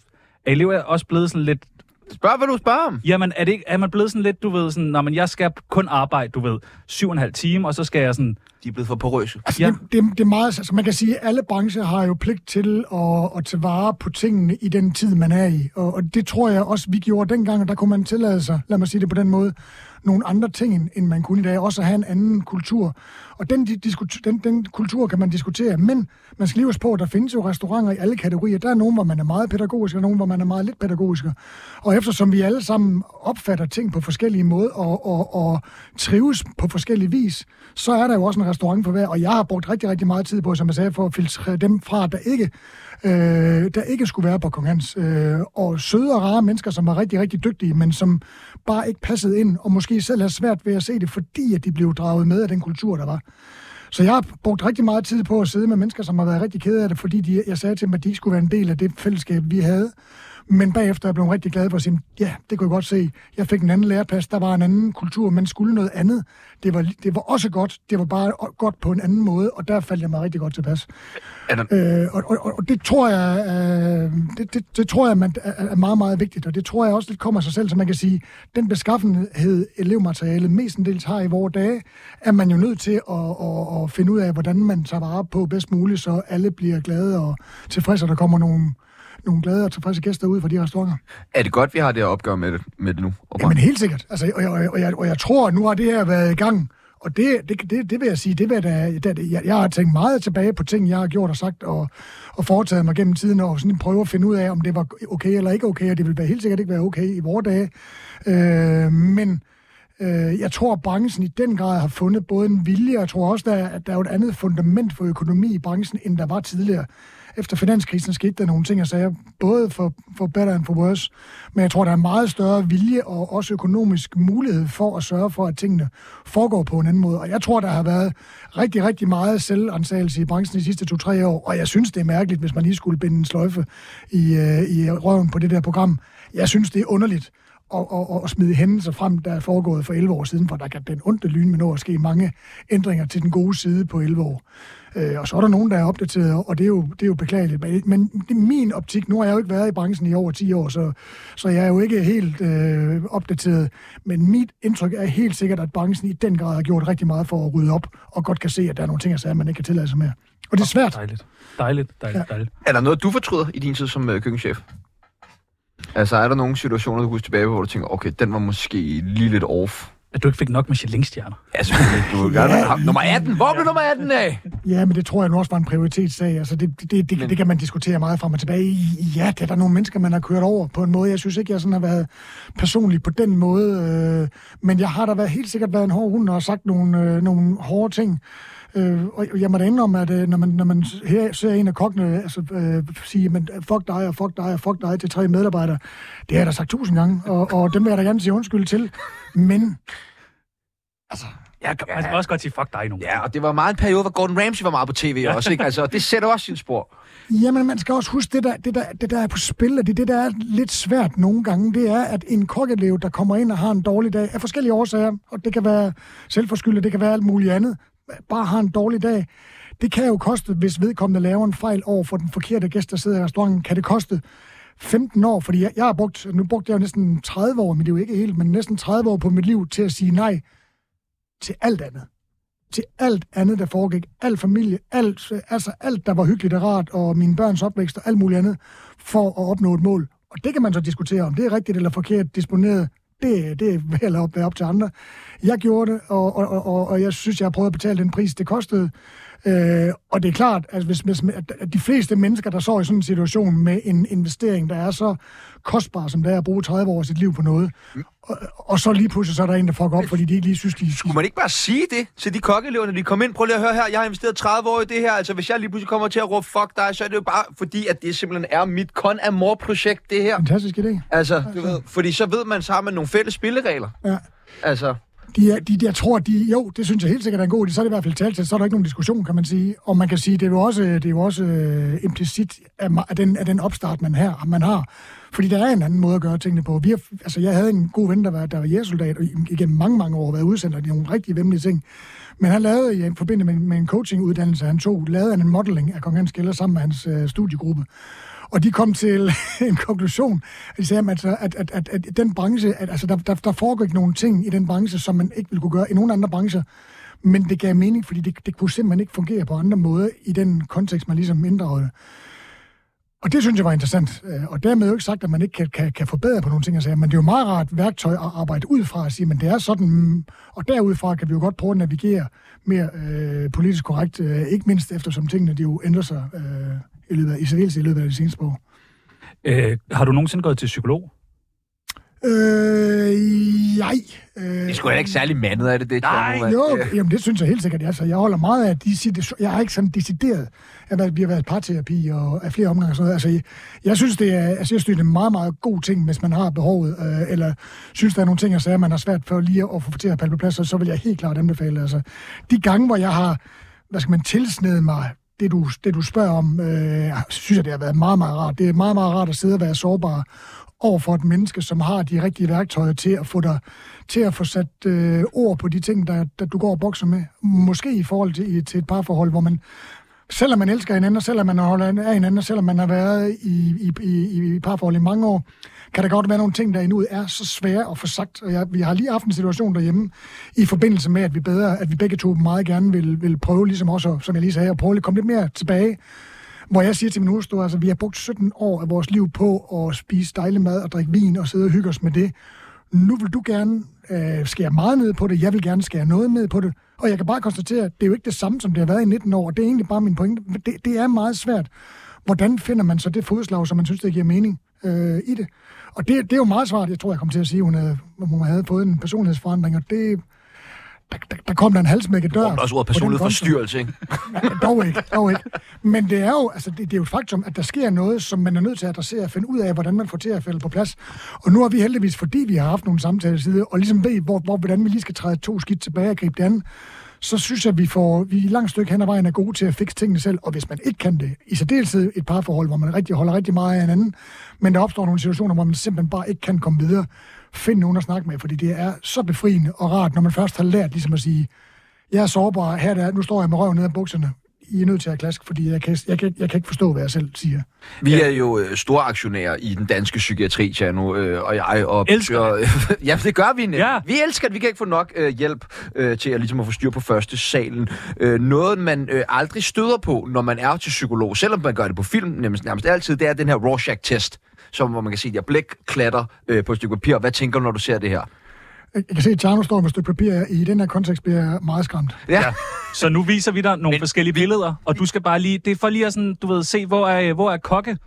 C: Er elever også blevet sådan lidt
A: Spørg, hvad du spørger om.
C: Jamen, er, det ikke, er man blevet sådan lidt, du ved, sådan, når man, jeg skal kun arbejde, du ved, syv og en halv time, og så skal jeg sådan...
A: De er blevet for porøse.
B: Altså,
C: Ja.
B: ja. det, det, det er meget... Altså, man kan sige, at alle brancher har jo pligt til at, at tage vare på tingene i den tid, man er i. Og, og det tror jeg også, vi gjorde dengang, og der kunne man tillade sig, lad mig sige det på den måde, nogle andre ting, end- end man kunne i dag. Også at have en anden kultur. Og den, di- diskut, den, den kultur kan man diskutere, men man skal lige huske på, at der findes jo restauranter i alle kategorier. Der er nogen, hvor man er meget pædagogisk, og nogen, hvor man er meget lidt pædagogisk. Og eftersom vi alle sammen opfatter ting på forskellige måder og, og, og trives på forskellige vis, så er der jo også en restaurant for hver, og jeg har brugt rigtig, rigtig meget tid på, som jeg sagde, for at filtrere dem fra, der ikke, øh, der ikke skulle være på Kong Hans. Øh, og søde og rare mennesker, som var rigtig, rigtig dygtige, men som bare ikke passede ind, og måske selv har svært ved at se det, fordi at de blev draget med af den kultur, der var. Så jeg har brugt rigtig meget tid på at sidde med mennesker, som har været rigtig kede af det, fordi de, jeg sagde til dem, at de ikke skulle være en del af det fællesskab, vi havde. Men bagefter er jeg blevet rigtig glad for at sige, ja, det kunne jeg godt se. Jeg fik en anden læreplads, der var en anden kultur, man skulle noget andet. Det var, li- det var også godt, det var bare o- godt på en anden måde, og der faldt jeg mig rigtig godt tilpas.
A: Er der,
B: Øh, og, og, og- og det tror jeg, øh, det, det, det tror jeg man, er, er meget, meget vigtigt, og det tror jeg også lidt kommer af sig selv, så man kan sige, den beskaffenhed elevmaterialet mestendels har i vore dage, er man jo nødt til at, at, at finde ud af, hvordan man tager vare på bedst muligt, så alle bliver glade og tilfredse, og der kommer nogle, nogle glade og tilfredse gæster ud fra de restauranter.
A: er det godt, vi har det at opgøre med det, med det nu?
B: Jamen helt sikkert. Altså, og, jeg, og, jeg, og, jeg, og jeg tror, at nu har det her været i gang. Og det, det, det, det vil jeg sige, det vil jeg da, da, det- jeg, jeg har tænkt meget tilbage på ting, jeg har gjort og sagt og, og foretaget mig gennem tiden, og sådan prøve at finde ud af, om det var okay eller ikke okay, og det vil være helt sikkert ikke være okay i vores dage. Øh, men øh, jeg tror, at branchen i den grad har fundet både en vilje, og jeg tror også, der, er- at der er jo et andet fundament for økonomi i branchen, end der var tidligere. Efter finanskrisen skete der nogle ting, jeg sagde, både for, for better and for worse, men jeg tror, der er en meget større vilje og også økonomisk mulighed for at sørge for, at tingene foregår på en anden måde. Og jeg tror, der har været rigtig, rigtig meget selvansagelse i branchen de sidste to-tre år, og jeg synes, det er mærkeligt, hvis man lige skulle binde en sløjfe i, øh, i røven på det der program. Jeg synes, det er underligt og, og, og smide hændelser frem, der er foregået for 11 år siden, for der kan den ondte lyn med nå at ske mange ændringer til den gode side på 11 år. Øh, og så er der nogen, der er opdateret, og det er jo, det er jo beklageligt. Men, men det er min optik, nu har jeg jo ikke været i branchen i over 10 år, så, så jeg er jo ikke helt øh, opdateret. Men mit indtryk er helt sikkert, at branchen i den grad har gjort rigtig meget for at rydde op, og godt kan se, at der er nogle ting, jeg sagde, man ikke kan tillade sig mere. Og det er svært.
C: Dejligt. Dejligt, dejligt, dejligt.
A: Er der noget, du fortryder i din tid som øh, køkkenchef? Altså, er der nogle situationer, du husker tilbage på, hvor du tænker, okay, den var måske lige lidt off?
C: At du ikke fik nok Michelin-stjerner.
A: Ja, selvfølgelig. Du vil gerne have haft nummer 18. Hvor blev nummer 18 af?
B: Ja, men det tror jeg nu også var en prioritetssag. Altså, det, det, det, det, det kan man diskutere meget frem og tilbage. Ja, det er der nogle mennesker, man har kørt over på en måde. Jeg synes ikke, jeg sådan har været personlig på den måde. Øh, men jeg har da været, helt sikkert været en hård hund og har sagt nogle, øh, nogle hårde ting. Øh, og jeg må da indrømme, at øh, når man, når man her ser en af kokkene altså, øh, sige, men fuck dig og fuck dig og fuck dig til tre medarbejdere, det har jeg da sagt tusind gange, og, og dem vil jeg da gerne sige undskyld til. Men
C: Ja, man kan også godt sige, fuck dig nu.
A: Ja, og det var meget en periode, hvor Gordon Ramsay var meget på tv også, ikke? Altså, og det sætter også sin spor.
B: Jamen, man skal også huske, det der, det, der, det der er på spil, og det, er det der er lidt svært nogle gange, det er, at en kokkelev, der kommer ind og har en dårlig dag, af forskellige årsager, og det kan være selvforskyldt, og det kan være alt muligt andet, bare har en dårlig dag, det kan jo koste, hvis vedkommende laver en fejl over for den forkerte gæst, der sidder i restauranten, kan det koste 15 år, fordi jeg, jeg har brugt, nu brugte jeg jo næsten 30 år, men det er jo ikke helt, men næsten 30 år på mit liv til at sige nej til alt andet til alt andet, der foregik. Al familie, alt, altså alt, der var hyggeligt og rart, og mine børns opvækst og alt muligt andet, for at opnå et mål. Og det kan man så diskutere, om det er rigtigt eller forkert disponeret. Det, det vil jeg lade op, være op til andre. Jeg gjorde det, og, og, og- og, og jeg synes, jeg har prøvet at betale den pris, det kostede. Øh, og det er klart, at, hvis, hvis, at- at de fleste mennesker, der står i sådan en situation med en investering, der er så kostbar, som det er at bruge 30 år af sit liv på noget, og, og så lige pludselig så er der en, der fucker op, fordi de ikke lige synes, de
A: Kunne man ikke bare sige det til de kokkelever, når de kom ind? Prøv lige at høre her, jeg har investeret 30 år i det her. Altså, hvis jeg lige pludselig kommer til at råbe fuck dig, så er det jo bare fordi, at det simpelthen er mit con amor projekt det her.
B: Fantastisk idé.
A: Altså, du ved, fordi så ved man, så har man nogle fælles spilleregler.
B: Ja.
A: Altså,
B: De, er- de, de, jeg tror, de, jo, det synes jeg helt sikkert er en god idé. Så er det i hvert fald talt til, så er der ikke nogen diskussion, kan man sige. Og man kan sige, det er jo også, det er jo også øh, implicit af, ma- af, den, af den opstart, man, her, man har. Fordi der er en anden måde at gøre tingene på. Vi har, altså, jeg havde en god ven, der var, der var jægersoldat, og igennem mange, mange år været udsendt, og det er nogle rigtig vemmelige ting. Men han lavede, ja, i forbindelse med, med en coachinguddannelse, han tog, lavede han en modeling af Kong Hans Kælder sammen med hans øh, studiegruppe. Og de kom til en konklusion, at de sagde, jamen, altså, at, at, at, at den branche, at, altså, der, der, der foregår ikke nogen ting i den branche, som man ikke ville kunne gøre i nogen andre brancher. Men det gav mening, fordi det, det kunne simpelthen ikke fungere på andre måder i den kontekst, man ligesom inddragede. det. Og det synes jeg var interessant. Øh, Og dermed jo ikke sagt, at man ikke kan, kan, kan forbedre på nogle ting, og sager, men det er jo meget rart værktøj at arbejde ud fra at sige, men det er sådan, mm, og derudfra kan vi jo godt prøve at navigere mere øh, politisk korrekt, øh, ikke mindst eftersom tingene de jo ændrer sig øh, i løbet af, i særdeleshed i løbet af de seneste par år.
C: Øh, har du nogensinde gået til psykolog?
B: Øh, nej. Øh,
A: Det er sgu heller ikke særlig mandet af det, det tror jeg nu, at-
B: jo, jamen det synes jeg helt sikkert, altså. Jeg holder meget af, at de siger, det, jeg har ikke sådan decideret, at været- vi har været i parterapi og af flere omgange og sådan noget. Altså, jeg, jeg synes, det er, altså, jeg synes, det er en meget, meget god ting, hvis man har behovet, øh, eller synes, der er nogle ting, jeg sagde, man har svært for lige at få til at falde på plads, så, så vil jeg helt klart anbefale, altså, de gange, hvor jeg har, hvad skal man, tilsnedet mig det du, det du spørger om, øh, synes jeg, det har været meget, meget rart. Det er meget, meget rart at sidde og være sårbar over for et menneske, som har de rigtige værktøjer til at få dig til at få sat øh, ord på de ting, der, der du går og bokser med. Måske i forhold til, i- til et parforhold, hvor man selvom man elsker hinanden, og selvom man holder af hinanden, og selvom man har været i, i, i, i parforhold i mange år, kan der godt være nogle ting, der endnu er så svære at få sagt. Og jeg, vi har lige haft en situation derhjemme, i forbindelse med, at vi, bedre, at vi begge to meget gerne vil, vil prøve, ligesom også, som jeg lige sagde, at prøve at komme lidt mere tilbage hvor jeg siger til min hustru, altså vi har brugt 17 år af vores liv på at spise dejlig mad og drikke vin og sidde og hygge os med det. Nu vil du gerne øh, skære meget ned på det, jeg vil gerne skære noget ned på det. Og jeg kan bare konstatere, at det er jo ikke det samme, som det har været i 19 år, og det er egentlig bare min pointe. Det, det er meget svært. Hvordan finder man så det fodslag, som man synes, det giver mening øh, i det? Og det, det er jo meget svært, jeg tror, jeg kom til at sige, hun havde, hun havde fået en personlighedsforandring, og det... Der, der, der kom der en halsmækket dør.
A: Der er også ordet
B: på den
A: personlighed
B: konto.
A: forstyrrelse, ikke?
B: dog ikke, dog ikke. Men det er jo, altså, det, det er jo et faktum, at der sker noget, som man er nødt til at adressere og finde ud af, hvordan man får til at falde på plads. Og nu har vi heldigvis, fordi vi har haft nogle samtaler side, og ligesom ved, hvor, hvor, hvordan vi lige skal træde to skidt tilbage og gribe det andet, så synes jeg, at vi, får, vi i langt stykke hen ad vejen er gode til at fikse tingene selv, og hvis man ikke kan det, i særdeleshed et parforhold, hvor man rigtig holder rigtig meget af hinanden, men der opstår nogle situationer, hvor man simpelthen bare ikke kan komme videre, find nogen at snakke med, fordi det er så befriende og rart, når man først har lært ligesom at sige, jeg er sårbar, her der, er- nu står jeg med røven ned af bukserne. I er nødt til at klaske, fordi jeg kan, jeg, kan, jeg kan ikke forstå, hvad jeg selv siger.
A: Vi er jo øh, store aktionærer i den danske psykiatri, Tjerno, øh, og jeg. Og,
C: Elsker
A: det. ja, det gør vi nemlig.
C: Ja.
A: Ja. Vi elsker det. Vi kan ikke få nok øh, hjælp øh, til at, ligesom at få styr på første salen. Øh, noget, man øh, aldrig støder på, når man er til psykolog, selvom man gør det på film nærmest, nærmest altid, det er den her Rorschach-test, som, hvor man kan se, at jeg blæk klatter øh, på et stykke papir. Hvad tænker du, når du ser det her?
B: Jeg kan se, at Tjerno står med et stykke papir. I den her kontekst bliver jeg meget skræmt.
A: Ja.
C: Så nu viser vi dig nogle Men, forskellige billeder, og du skal bare lige... Det er for lige at sådan, du ved, se, hvor er, hvor er kokke?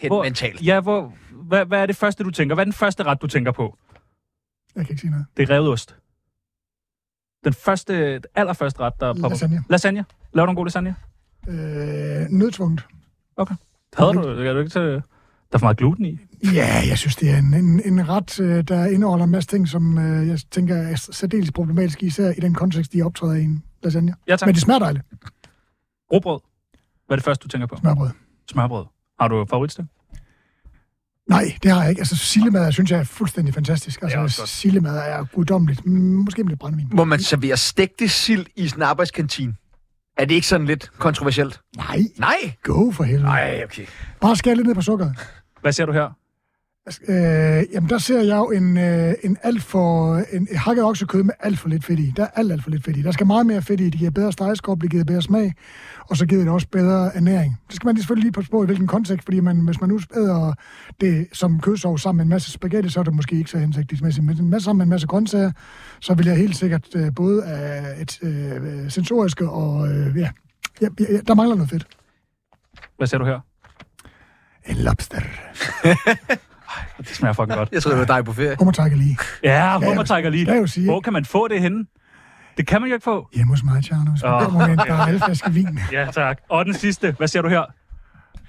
A: Helt
C: hvor,
A: mentalt.
C: Ja, hvor, hvad, hvad er det første, du tænker? Hvad er den første ret, du tænker på?
B: Jeg kan ikke sige noget.
C: Det er revet ost. Den første, allerførste ret, der popper.
B: Lasagne.
C: Lasagne. Laver du en god lasagne?
B: Øh, nødtvunget.
C: Havde du, kan du ikke tage... Der er for meget gluten i.
B: Ja, jeg synes, det er en, en, en ret, øh, der indeholder en masse ting, som øh, jeg tænker er særdeles problematisk, især i den kontekst, de optræder i en lasagne.
C: Ja, tak.
B: Men det smager dejligt.
C: Råbrød. Hvad er det første, du tænker på?
B: Smørbrød.
C: Smørbrød. Har du favoritstik?
B: Nej, det har jeg ikke. Altså, sillemad synes jeg er fuldstændig fantastisk. Altså,
C: også godt.
B: sillemad er guddommeligt. Mm, Måske med lidt brændevin.
A: Må man servere stegte sild i sin arbejdskantine? Er det ikke sådan lidt kontroversielt?
B: Nej,
A: Nej!
B: go for helvede.
A: Nej, okay.
B: Bare skær lidt ned på sukkeret.
C: Hvad ser du her?
B: Altså, Øh, jamen, der ser jeg jo en, øh, en alt for... En, en hakket oksekød med alt for lidt fedt i. Der er alt, alt for lidt fedt i. Der skal meget mere fedt i. Det giver bedre stegeskrop, det giver bedre smag, og så giver det også bedre ernæring. Det skal man lige selvfølgelig lige passe på, i hvilken kontekst, fordi man, hvis man nu æder det som kødsovs sammen med en masse spaghetti, så er det måske ikke så hensigtsmæssigt. Men med, sammen med en masse grøntsager, så vil jeg helt sikkert øh, både af et øh, sensoriske og... Øh, ja, ja, ja, der mangler noget fedt.
C: Hvad ser du her?
B: En lobster.
C: Det smager fucking godt.
A: Jeg tror, det var dig på ferie.
B: Kom og takke lige.
C: Ja, hummertrækker lige.
B: kan jeg jo sige,
C: Hvor
B: ikke?
C: kan man få det henne? Det kan man jo ikke få.
B: Hjemme hos mig, Tjerno. Hvis
A: Ah.
B: man
C: Åh.
B: kommer med en barrelflaske vin.
C: Ja, tak. Og den sidste. Hvad ser du her?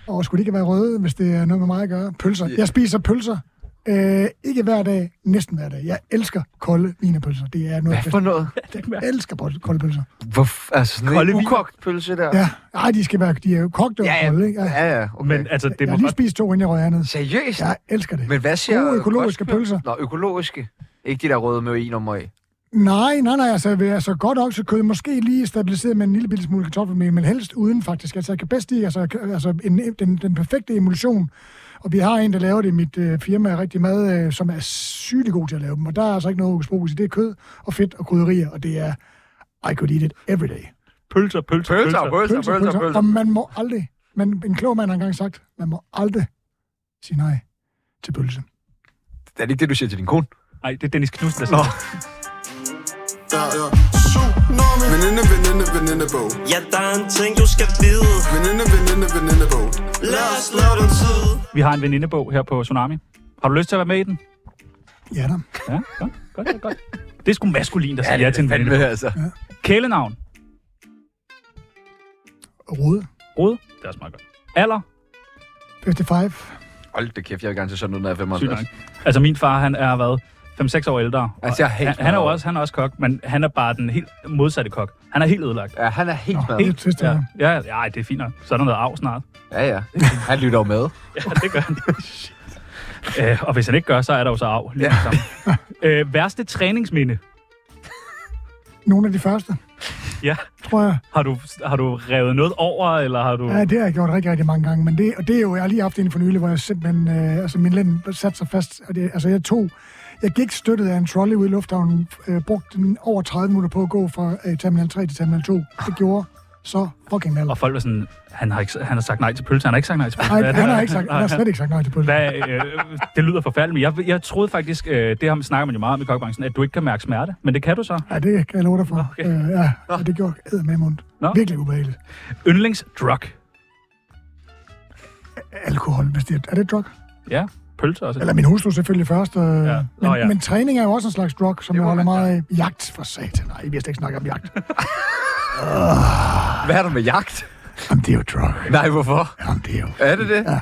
B: Og skulle det ikke være røde, hvis det er noget med mig at gøre? Pølser. Jeg spiser pølser. Øh, ikke hver dag, næsten hver dag. Jeg elsker kolde vinerpølser. Det er noget, af
A: Hvad for
B: det
A: noget?
B: bedste. jeg elsker bol- kolde pølser.
A: Hvor, altså sådan
C: Kolde
A: en
C: viner.
A: ukogt pølse der?
B: Ja, Ej, de skal være, de er jo kogt og
A: ja,
B: kolde, ikke?
A: ja.
B: Ja.
A: ja, ja okay.
C: Men altså, det
B: Jeg
C: må
B: har lige
C: godt...
B: spist to, inden jeg røg hernede.
A: Seriøst? Ja.
B: Jeg elsker det.
A: Men hvad siger...
B: Gode økologiske
A: Godt-
B: pølser.
A: Nå, økologiske. Ikke de der røde med i nummer i.
B: Nej, nej, nej, altså, ved- altså godt oksekød, måske lige stabiliseret med en lille bitte smule kartoffelmel, men helst uden faktisk. Altså, jeg kan bedst lide altså, k- altså en, den, den perfekte emulsion. Og vi har en, der laver det i mit øh, firma rigtig mad, øh, som er sygt god til at lave dem. Og der er altså ikke noget hokus i. Det er kød og fedt og krydderier, og det er I could eat it every day.
C: Pølser, pølser, pølser.
A: Pølser,
C: pølser.
A: pølser, pølser,
B: Og
A: pølser.
B: man må aldrig, man, en klog mand har engang sagt, man må aldrig sige nej til pølse.
A: Det er ikke det, du siger til din kone.
C: Nej, det er Dennis Knudsen, der siger.
F: Ja, ja. Tsunami. Veninde, veninde, venindebog.
E: Ja, der er en ting, du skal vide.
F: Veninde, veninde, venindebog.
E: Lad os lave den tid.
C: Vi har en venindebog her på Tsunami. Har du lyst til at være med i den?
B: Ja da.
C: Ja, godt, godt, godt, godt. Det er sgu maskulin, der siger ja, til en veninde.
A: altså.
C: Kælenavn.
B: Rode.
C: Rod. Det er også meget godt. Alder.
B: 55.
A: Hold da kæft, jeg vil gerne til sådan noget, når jeg er
C: Sygt nok.
A: 55.
C: Altså min far, han er været 5-6 år ældre. Og
A: Altså, jeg er helt
C: han, han, er jo
A: smadret.
C: også, han er også kok, men han er bare den helt modsatte kok. Han er helt ødelagt.
A: Ja, han er helt
B: Nå,
A: med.
B: det er trist, det
C: Ja,
B: her.
C: ja, ja, det er fint nok. Så er der noget arv snart.
A: Ja, ja. Han lytter jo med.
C: Ja, det gør han. Øh, og hvis han ikke gør, så er der jo så arv. Lige ja. øh, værste træningsminde.
B: Nogle af de første,
C: Ja.
B: tror jeg.
C: Har du, har du revet noget over, eller har du...
B: Ja, det har jeg gjort rigtig, rigtig mange gange, men det, og det er jo, jeg har lige haft en for nylig, hvor jeg simpelthen, øh, altså min lænd satte sig fast, og det, altså jeg tog, jeg gik støttet af en trolley ude i lufthavnen, øh, brugte den over 30 minutter på at gå fra øh, terminal 3 til terminal 2. Det gjorde så fucking meget.
C: Og folk var sådan, han har, ikke, han har sagt nej til pølse, han har ikke sagt nej til pølse. Hvad
B: Nej,
C: er
B: han
C: det?
B: har, ikke sagt, han har slet ikke sagt nej til pølse.
C: Hvad, øh, det lyder forfærdeligt, men jeg, jeg troede faktisk, øh, det her snakker man jo meget om i kokbranchen, at du ikke kan mærke smerte, men det kan du så.
B: Ja, det kan jeg love dig for.
C: okay.
B: Øh, ja, og det gjorde æd med mund.
C: Nå.
B: Virkelig ubehageligt.
C: Yndlingsdrug.
B: Alkohol, hvis det er, er det drug?
C: Ja, pølser også.
B: Eller min hustru selvfølgelig først. Øh, ja.
C: Nå,
B: men,
C: ja.
B: men træning er jo også en slags drug, som jeg holder meget af. Jagt for satan. Nej, vi har slet ikke snakket om jagt.
A: Hvad er der med jagt?
B: Jamen, det er jo drug.
A: Nej, hvorfor?
B: Jamen, det er jo...
A: Er det det? Ja.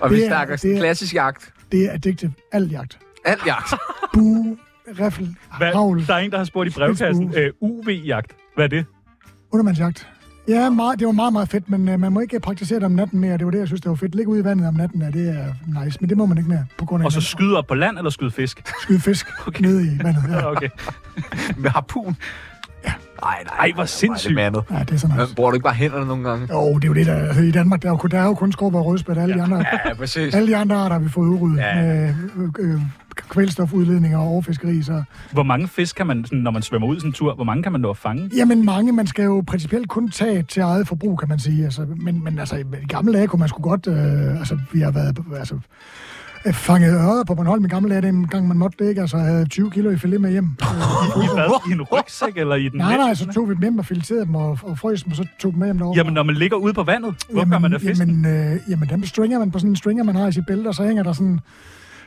A: Og vi
B: Det er-
A: snakker
B: det er-
A: klassisk jagt.
B: Det er addictive. Al jagt.
A: Alt jagt.
B: Bue, riffel, havl,
C: Hvad, der er en, der har spurgt i brevkassen, øh, UV-jagt. Hvad er det?
B: undermandsjagt. Ja, meget, det var meget, meget fedt, men øh, man må ikke praktisere det om natten mere. Det var det, jeg synes, det var fedt. Ligge ude i vandet om natten, ja, det er nice, men det må man ikke mere, på grund af
C: Og så
B: at
C: skyde op på land eller skyde fisk?
B: skyde fisk okay. ned i vandet. Ja.
C: Okay.
A: Med harpun. Ja. Nej, nej.
C: Ej, hvor sindssygt.
A: Nej, det
B: ja, det er så
A: er
B: nice.
A: mandet. Bruger du ikke bare hænderne nogle gange?
B: Jo, det er jo det, der altså, i Danmark, der er jo, kun- der er jo kun skorper og rødspæt. Alle, ja. de andre,
A: Ja, præcis.
B: alle de andre arter har vi fået udryddet
A: Ja.
B: ja. med øh, øh, kvælstofudledninger og overfiskeri. Så.
C: Hvor mange fisk kan man, sådan, når man svømmer ud sådan en tur, hvor mange kan man nå at fange?
B: Jamen mange, man skal jo principielt kun tage til eget forbrug, kan man sige. Altså, men, men altså, i i gamle dage kunne man sgu godt... Øh, altså, vi har været... Altså, øh, fanget ørder på Bornholm i gamle dage, den gang man måtte det ikke, altså havde 20 kilo i filet med hjem. Øh,
C: I hvad? I en rygsæk eller i den
B: nej,
C: mindste?
B: nej, altså- så tog vi dem hjem og fileterede dem og, og frøs dem, og så tog dem med hjem derovre.
C: Jamen, når man ligger ude på vandet, hvor gør man af fisken?
B: Jamen, øh, jamen dem stringer man på sådan en stringer, man har i sit bælte, og så hænger der sådan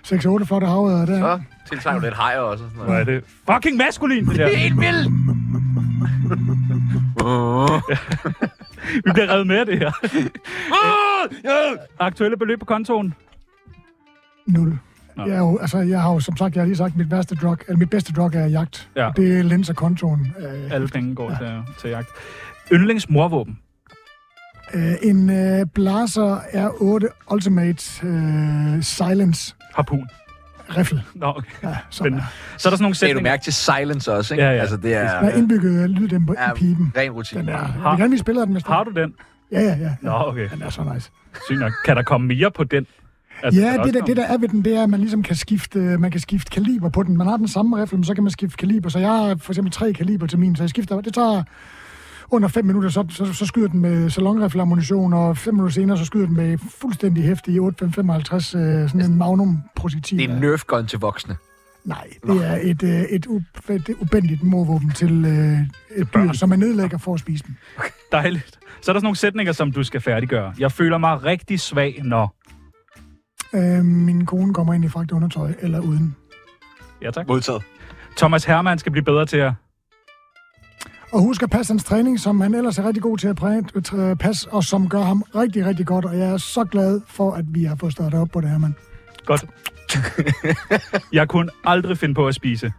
B: 6-8 flotte havøder der.
A: Så tiltager du lidt hajer også. Sådan
C: Hvor
A: noget.
C: er det fucking maskulin, det der.
A: Helt vildt!
C: Vi bliver revet med af det her. Aktuelle beløb på kontoen.
B: Nul. Jeg, er jo, altså, jeg har jo, som sagt, jeg har lige sagt, mit, værste drug, eller mit bedste drug er jagt.
C: Ja.
B: Og Det linser kontoen. Øh,
C: Alle penge går til, til jagt. Yndlingsmorvåben.
B: øh, en øh, Blaser R8 Ultimate øh, Silence
C: Harpun.
B: Riffel.
C: Nå, okay.
B: Ja, som
C: Spændende.
B: er,
C: Så er der sådan nogle
A: Lad du
C: sætninger.
A: mærke til silence også, ikke?
C: Ja, ja.
A: Altså, det er,
B: der er indbygget lyddæmper
A: er
B: i pipen.
A: ren rutine.
B: Den er,
A: bare.
B: jeg vil gerne vise billeder af den, hvis
C: Har du den?
B: Ja, ja, ja.
C: Nå, okay.
B: Den er så nice.
C: Sygt nok. Kan der komme mere på den? Altså, Er der
B: Ja,
C: også
B: det der, det
C: kommet?
B: der er ved den, det er, at man ligesom kan skifte, øh, man kan skifte kaliber på den. Man har den samme rifle, men så kan man skifte kaliber. Så jeg har for eksempel tre kaliber til min, så jeg skifter. Det tager under 5 minutter, så, så, så skyder den med salonrifleammunition, og 5 minutter senere, så skyder den med fuldstændig hæftig 855, øh, sådan en magnum-projektil.
A: Det er nerf gun til voksne.
B: Nej, det er et, øh, et, u- et ubendigt morvåben til øh, et dyr, som man nedlægger for at spise dem.
C: Dejligt. Så er der sådan nogle sætninger, som du skal færdiggøre. Jeg føler mig rigtig svag, når...
B: Øh, min kone kommer ind i fragt undertøj, eller uden.
C: Ja, tak.
A: Modtaget.
C: Thomas Hermann skal blive bedre til at...
B: Og husk at passe hans træning, som han ellers er rigtig god til at præ- træ- passe, og som gør ham rigtig, rigtig godt. Og jeg er så glad for, at vi har fået startet op på det her, mand.
C: Godt. Jeg kunne aldrig finde på at spise.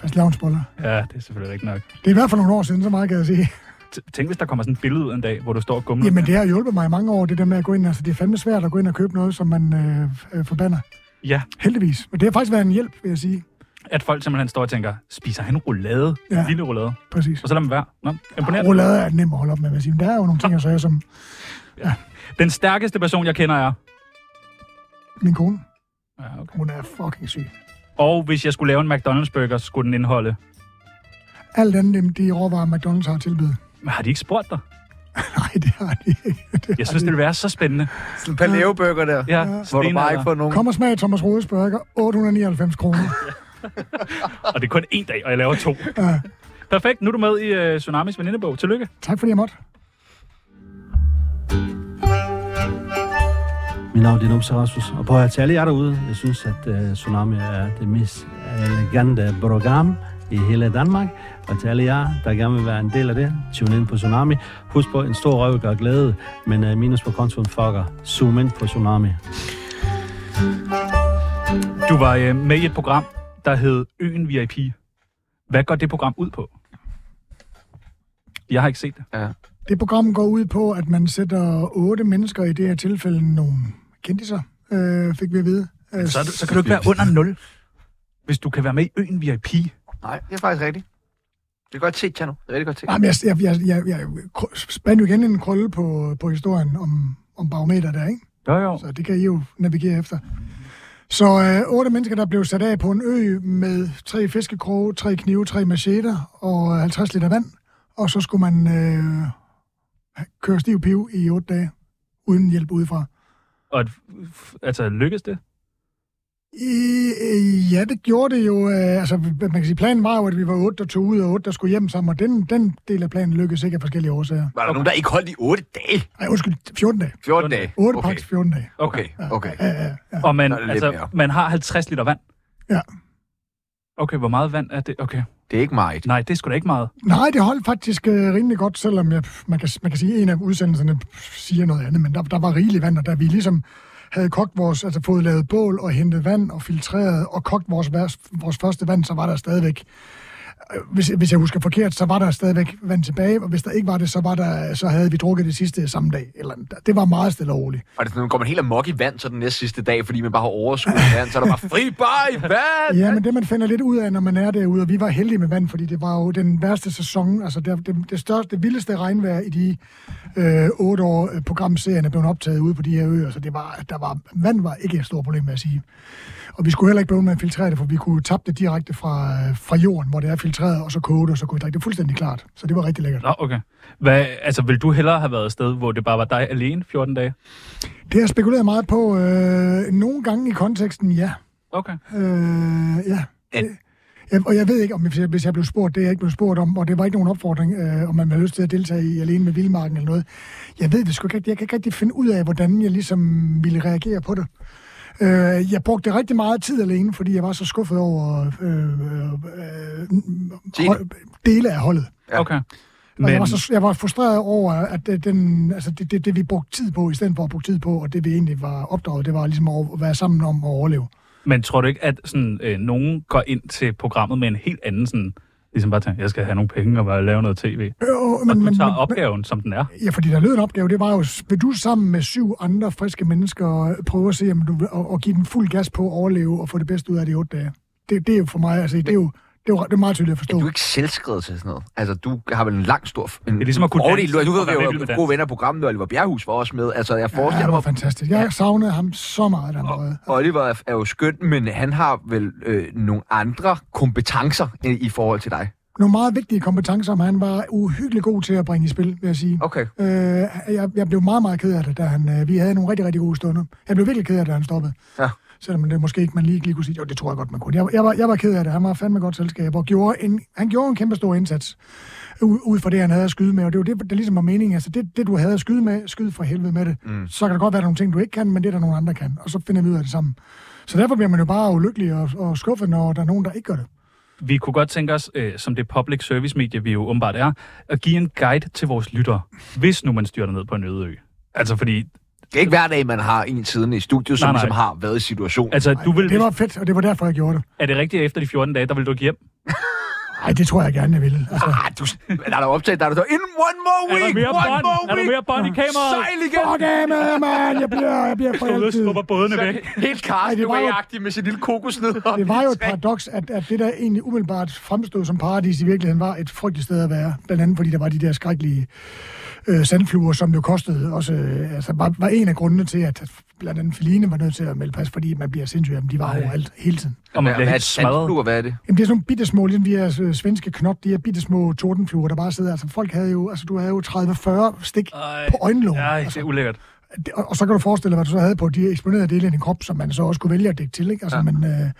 B: Fast lavnsboller.
C: Ja, det er selvfølgelig rigtigt nok.
B: Det er i hvert fald nogle år siden, så meget kan jeg sige.
C: T- Tænk, hvis der kommer sådan et billede ud en dag, hvor du står og gumler.
B: Jamen, det har hjulpet mig i mange år, det der med at gå ind. Altså, det er fandme svært at gå ind og købe noget, som man øh, øh, forbander.
C: Ja,
B: Heldigvis. Men det har faktisk været en hjælp, vil jeg sige.
C: at folk simpelthen står og tænker, spiser han roulade?
D: Ja.
C: Ja. Lille roulade.
D: Præcis.
C: Og så lader man være. Nå, imponeret.
D: Roulade er nem at holde op med, vil jeg sige. Men der er jo nogle ting, jeg siger, som
C: Den stærkeste person, jeg kender, er...
D: min kone.
C: Ja, okay.
D: Hun er fucking syg.
C: Og hvis jeg skulle lave en McDonald's-burger, så skulle den indeholde...
D: Alt andet end de råvarer, McDonald's har tilbydet.
C: Men har de ikke spurgt dig?
D: Nej, det har de ikke. Det
C: Jeg synes, det ville være så spændende.
A: Sådan en paleobøger der,
C: Ja,
A: hvor du
C: stenalder.
A: bare ikke får nogen...
D: Kom og smag Thomas Rodes burger. 899 kroner.
C: Og det er kun én dag, og jeg laver to.
D: Ja.
C: Perfekt, nu er du med i øh, Tsunamis venindebog. Tillykke.
D: Tak fordi jeg måtte.
H: Mit navn det er Numse Rasmus, og prøv at høre til alle jer derude. Jeg synes, at uh, Tsunami er det mest elegante program i hele Danmark. Og til alle jer, der gerne vil være en del af det, tune ind på Tsunami. Husk på, en stor røv gør glæde, men uh, minus på kontoen fucker. Zoom ind på Tsunami.
C: Du var øh, med i et program, der hed Øen VIP. Hvad går det program ud på? Jeg har ikke set det.
D: Det program går ud på, at man sætter otte mennesker, i det her tilfælde nogle kendiser, øh, fik vi at vide. Øh,
C: Så, er du, så kan du ikke være under 0, hvis du kan være med i Øen VIP.
A: Nej, det er faktisk rigtigt. Det er godt set, Tjerno. Det er rigtig godt set.
D: Jamen, jeg, jeg, jeg, jeg, jeg kr- spand jo igen en krølle på, på historien om, om barometer der, ikke?
C: Jo, jo.
D: Så det kan I jo navigere efter. Så øh, otte mennesker, der blev sat af på en ø med tre fiskekroge, tre knive, tre macheter og 50 liter vand. Og så skulle man øh, køre stiv piv i otte dage, uden hjælp udefra.
C: Og at- f- altså, lykkes det?
D: I, øh, ja, det gjorde det jo. Øh, altså, man kan sige, planen var jo, at vi var otte, der tog ud, og otte, der skulle hjem sammen, og den, den del af planen lykkedes ikke af forskellige årsager.
A: Var der nogen, der ikke holdt i 8 dage?
D: Ej, undskyld, 14 dage.
A: 14 dage?
D: 8 okay.
A: okay.
D: pakkes 14 dage.
A: Okay, okay.
D: Ja, ja, ja.
C: Og man,
A: Der er lidt
C: altså,
A: mere.
C: man har 50 liter vand.
D: Ja.
C: Okay, hvor meget vand er det? Okay.
A: Det er ikke meget.
C: Nej, det er sgu da ikke meget.
D: Nej, det holdt faktisk øh, rimelig godt, selvom jeg, man, kan, man kan sige, at en af udsendelserne siger noget andet, men der, der var rigeligt vand, og da vi ligesom havde kogt vores, altså fået lavet bål og hentet vand og filtreret og kogt vores, vers- vores første vand, så var der stadigvæk, øh, hvis, hvis jeg husker forkert, så var der stadigvæk vand tilbage, og hvis der ikke var det, så, var der, så havde vi drukket det sidste samme dag. Eller, det var meget stille og roligt.
A: Og det er sådan, nu går man helt amok i vand så den næste sidste dag, fordi man bare har overskud i vand, så er der bare fri bar i vand!
D: Ja, men det man finder lidt ud af, når man er derude, og vi var heldige med vand, fordi det var jo den værste sæson, altså det, det, det største, det vildeste regnvejr i de øh, otte år, øh, programserien er blevet optaget ude på de her øer, så det var, der var, vand var ikke et stort problem, vil jeg sige. Og vi skulle heller ikke blive ved med at filtrere det, for vi kunne tappe det direkte fra, øh, fra jorden, hvor det er filtreret, og så koge det, og så kunne vi drikke det fuldstændig klart. Så det var rigtig lækkert.
C: Nå, okay. Hvad, altså, vil du hellere have været et sted, hvor det bare var dig alene 14 dage?
D: Det har jeg spekuleret meget på. Øh, nogle gange i konteksten, ja.
C: Okay.
D: Øh, ja. Ja, Øhm, og jeg ved ikke, om hvis jeg, hvis jeg blev spurgt, det er jeg ikke blevet spurgt om, og det var ikke nogen opfordring, øh, om man havde lyst til at deltage i Alene med Vildmarken eller noget. Jeg ved det sgu ikke rigtigt. Jeg kan ikke rigtig finde ud af, hvordan jeg ligesom ville reagere på det. Øh, jeg brugte rigtig meget tid alene, fordi jeg var så skuffet over øh, øh, øh,
A: Gene.
D: hold, dele af holdet.
A: Ja.
C: Okay.
D: Men... Jeg, var så, jeg var frustreret over, at det- den, altså det, det, det, vi brugte tid på, i stedet for at bruge tid på, og det vi egentlig var opdraget, det var ligesom at være sammen om at overleve.
C: Men tror du ikke, at sådan, øh, nogen går ind til programmet med en helt anden sådan, ligesom bare tænker, jeg skal have nogle penge og bare lave noget
D: Øh,
C: tv. Men, og du tager men, opgaven, som den er.
D: Ja, fordi der lød en opgave, det var jo, vil du sammen med syv andre friske mennesker øh, prøve at se, om du vil, og, og give den fuld gas på at overleve og få det bedste ud af de otte dage? Det, det er jo for mig, altså, det er jo det er, jo- det er meget tydeligt at
A: Du
D: forstå.
A: er ikke selvskrevet til sådan noget. Altså, du har vel en lang stor... En, det
C: er ligesom at kunne
A: Du,
C: danse
A: nu
C: og
A: ved
C: være
A: vi
C: vild med
A: jo,
C: dans.
A: gode venner af programmet, og Oliver Bjerghus var også med. Altså, jeg
D: Ja, det
A: forestiller
D: var
A: mig,
D: fantastisk. Jeg savnede ham så meget allerede.
A: Oliver er, er jo skøn, men han har vel øh, nogle andre kompetencer i, i forhold til dig.
D: Nogle meget vigtige kompetencer, men han var uhyggelig god til at bringe i spil, vil jeg sige.
A: Okay.
D: Øh, jeg, jeg blev meget, meget ked af det, da han, øh, vi havde nogle rigtig, rigtig gode stunder. Jeg blev virkelig ked af det, da han stoppede.
A: Ja.
D: Selvom det måske ikke man lige, lige kunne sige, jo, det tror jeg godt, man kunne. Jeg, jeg, var, jeg var ked af det. Han var fandme godt selskab, og gjorde en, han gjorde en kæmpe stor indsats ud, ud fra det, han havde at skyde med. Og det var det, der ligesom var meningen. Altså, det, det du havde at skyde med, skyd for helvede med det. Mm. Så kan der godt være nogle ting, du ikke kan, men det er der nogle andre kan. Og så finder vi ud af det sammen. Så derfor bliver man jo bare ulykkelig og, og skuffet, når der er nogen, der ikke gør det.
C: Vi kunne godt tænke os, øh, som det public service medie, vi jo åbenbart er, at give en guide til vores lyttere, hvis nu man styrter ned på en øde ø. Altså fordi,
A: Det er ikke hver dag, man har en siden i studiet, som
C: Nej, nej.
A: ligesom har været i situationen.
C: altså, du vil,
D: Det var fedt, og det var derfor, jeg gjorde det.
C: er det rigtigt at efter de 14 dage, der vil du ikke hjem?
D: Nej, det tror jeg gerne, jeg vil. Altså,
A: Ah, du, der er der optaget, der er der, in one more
C: Er
A: week,
C: der mere
A: one
C: bånd?
A: more
C: Er
A: week.
C: der mere bånd i kameraet?
A: Sejl igen.
D: fuck af med, mand! Jeg bliver, jeg bliver for
C: Stod og
D: altid.
C: skubber bådene væk.
A: Helt
D: Ej, det var jo-
A: Carsten med sin lille kokosnød. op
D: Det var
A: i
D: jo et
A: træ.
D: paradoks, at, at det der egentlig umiddelbart fremstod som paradis i virkeligheden var et frygteligt sted at være. Blandt andet fordi der var de der skrækkelige øh, sandfluer, som jo kostede også, øh, altså var, var en af grundene til, at blandt andet Feline var nødt til at melde pas, fordi man bliver sindssyg af dem. De var overalt hele tiden.
C: Og man
A: Hvad
C: bliver
A: er et
C: helt smadret.
A: sandfluer, hvad er det?
D: Jamen, det er sådan nogle bitte små, ligesom de her øh, svenske knop, de her bitte små tordenfluer, der bare sidder. Altså, folk havde jo, altså, du havde jo 30-40 stik
C: Ej.
D: på øjenlågen.
C: Nej, det
D: altså,
C: er ulækkert.
D: det- og, og, så kan du forestille dig, hvad du så havde på de eksponerede dele af din krop, som man så også kunne vælge at dække til. Ikke? Altså, ja. Men, øh,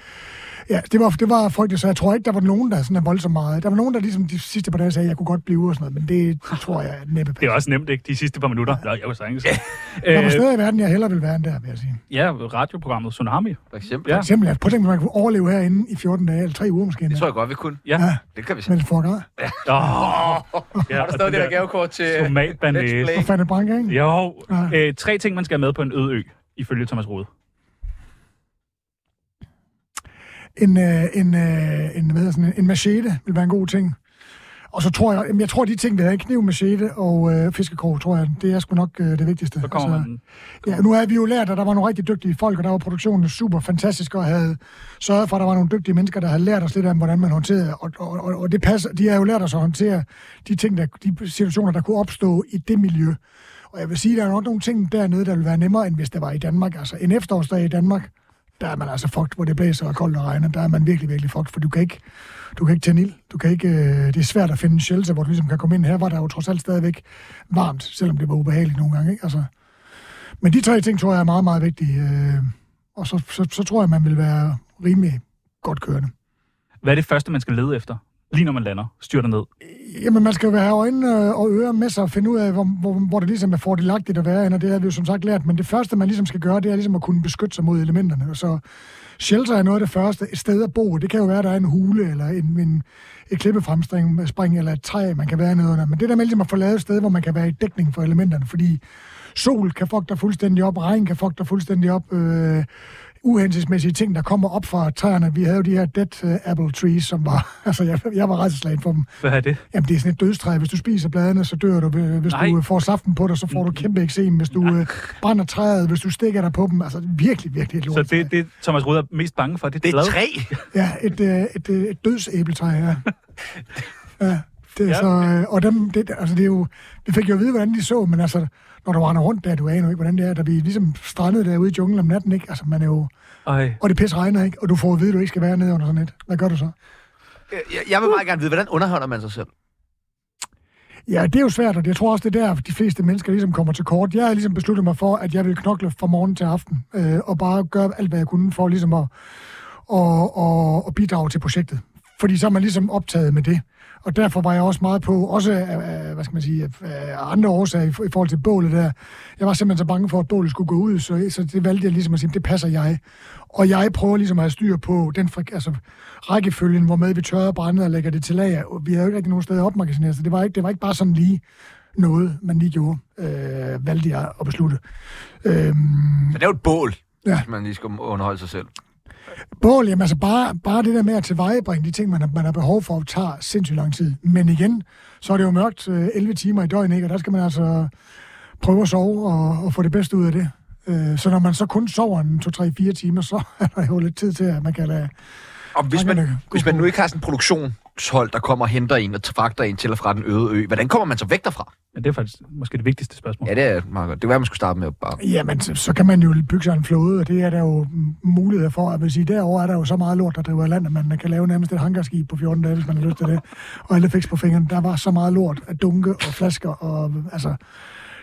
D: ja, det var, det var frygteligt, så jeg tror ikke, der var nogen, der sådan er voldsomt meget. Der var nogen, der ligesom de sidste par dage sagde, at jeg kunne godt blive og sådan noget, men det tror jeg er næppe
C: Ah. Det er
D: passer.
C: også nemt, ikke? De sidste par minutter. Nå, jeg var sagtens.
D: Der var
C: Øh,
D: steder i verden, jeg hellere ville være end der, vil jeg sige.
C: ja, radioprogrammet Tsunami.
A: For eksempel.
C: Ja.
A: Ja.
D: Simpelthen, altså, prøv at tænke, hvis man kunne overleve herinde i 14 dage, eller 3 uger måske.
A: Det tror jeg godt, vi kunne.
C: Ja.
D: Ja,
A: Det kan vi sige.
D: men for grad.
C: Åh. Ja,
A: Har du stadig det der gavekort til øh, Let's
C: tomatbanæs?
A: Play?
D: Og fandt banker, ikke?
C: Jo.
D: Ja.
C: Øh, tre ting, man skal have med på en øde ø, ifølge Thomas Rode.
D: en, øh, en, øh, en, hvad hedder sådan, en, en machete vil være en god ting. Og så tror jeg, jamen, jeg tror de ting, vi havde, kniv, machete og øh, fiskekrog, tror jeg, det er sgu nok øh, det vigtigste.
C: Så kommer
A: Altså-
C: man...
D: ja, nu havde vi jo lært, at der var nogle rigtig dygtige folk, og der var produktionen super fantastisk, og havde sørget for, at der var nogle dygtige mennesker, der havde lært os lidt om, hvordan man håndterede, og, og, og, og det passer, de har jo lært os at håndtere de ting, der, de situationer, der kunne opstå i det miljø. Og jeg vil sige, der er nok nogle ting dernede, der ville være nemmere, end hvis det var i Danmark. Altså en efterårsdag i Danmark, der er man altså fucked, hvor det blæser og koldt og regner. Der er man virkelig, virkelig fucked, for du kan ikke, du kan ikke tænde ild. Du kan ikke, øh, det er svært at finde en shelter, hvor du ligesom kan komme ind. Her var der jo trods alt stadigvæk varmt, selvom det var ubehageligt nogle gange. Ikke? Altså, men de tre ting tror jeg er meget, meget vigtige. Øh, og så, så, så tror jeg, man vil være rimelig godt kørende.
C: Hvad er det første, man skal lede efter? Lige når man lander, styrter ned.
D: Jamen, man skal jo have øjnene øh, og ører med sig og finde ud af, hvor, hvor, hvor det ligesom er fordelagtigt at være, henne, og det har vi jo som sagt lært. Men det første, man ligesom skal gøre, det er ligesom at kunne beskytte sig mod elementerne. Og Så shelter er noget af det første. Et sted at bo, det kan jo være, at der er en hule, eller en, en, et klippefremspring, spring, eller et træ, man kan være nede under. Men det der med ligesom at få lavet et sted, hvor man kan være i dækning for elementerne, fordi sol kan fuck dig fuldstændig op, regn kan fuck dig fuldstændig op, øh, uhensigtsmæssige ting, der kommer op fra træerne. Vi havde jo de her dead øh, apple trees, som var... Altså, jeg, jeg var redselslagen for dem.
C: Hvad er det?
D: Jamen, det er sådan et dødstræ. Hvis du spiser bladene, så dør du. Hvis
C: Nej. Mm.
D: Nej. du øh, får saften på dig, så får du kæmpe eksem. Hvis du øh, brænder træet, hvis du stikker dig på dem. Altså, virkelig, virkelig et lort.
C: Så det, det Thomas Rode er mest bange for, det er
A: Det er
C: blad.
A: tre.
D: Ja, et, øh, et, øh, et dødsæbletræ, ja. ja. Det,
C: Ja.
D: ja. Så, øh, og dem, det, altså, det er jo, vi fik jo at vide, hvordan de så, men altså, når du render rundt der, du aner jo ikke, hvordan det er, da vi ligesom strandede derude i junglen om natten, ikke? Altså, man er jo,
C: Ej.
D: og det pis regner, ikke? Og du får at vide, at du ikke skal være nede under sådan et. Hvad gør du så?
A: Øh, Jeg, jeg vil meget gerne vide, hvordan underholder man sig selv?
D: Ja, det er jo svært, og jeg tror også, det er der, de fleste mennesker ligesom kommer til kort. Jeg har ligesom besluttet mig for, at jeg vil knokle fra morgen til aften, øh, og bare gøre alt, hvad jeg kunne for ligesom at, og, og, og bidrage til projektet. Fordi så er man ligesom optaget med det. Og derfor var jeg også meget på, også af, af, hvad skal man sige, af, af andre årsager i, i forhold til bålet der. Jeg var simpelthen så bange for, at bålet skulle gå ud, så, så det valgte jeg ligesom at sige, det passer jeg. Og jeg prøver ligesom at have styr på den frik, altså, rækkefølgen, hvor med vi tørrer brændet og lægger det til lager. Og Vi havde jo ikke rigtig nogen steder opmagasineret, så det var ikke, det var ikke bare sådan lige noget, man lige gjorde, øh, valgte jeg at beslutte. Øhm,
A: Men det er jo et bål,
D: Ja.
A: hvis man lige skal underholde sig selv.
D: Bål, jamen altså bare, bare det der med at tilvejebringe de ting, man har, man har behov for, tager sindssygt lang tid. Men igen, så er det jo mørkt øh, 11 timer i døgnet, ikke? og der skal man altså prøve at sove og, og få det bedste ud af det. Øh, så når man så kun sover en 2-3-4 timer, så er der jo lidt tid til, at man kan lade...
A: Og hvis
D: Så
A: man,
D: kan det gå
A: hvis man
D: på.
A: nu ikke har sådan en produktionshold, der kommer og henter en og fragter en til og fra den øde ø, hvordan kommer man så væk derfra?
C: Men det er faktisk måske det vigtigste spørgsmål.
A: Ja, det er meget godt. Det var, man skulle starte med at bare...
D: Jamen, så, så kan man jo bygge sig en flåde, og det er der jo mm, muligheder for. Jeg vil sige, derovre er der jo så meget lort, der driver i land, at man kan lave nærmest et hangarskib på 14 dage, hvis man har lyst til det. Og alle fix på fingrene. Der var så meget lort af dunke og flasker, og altså...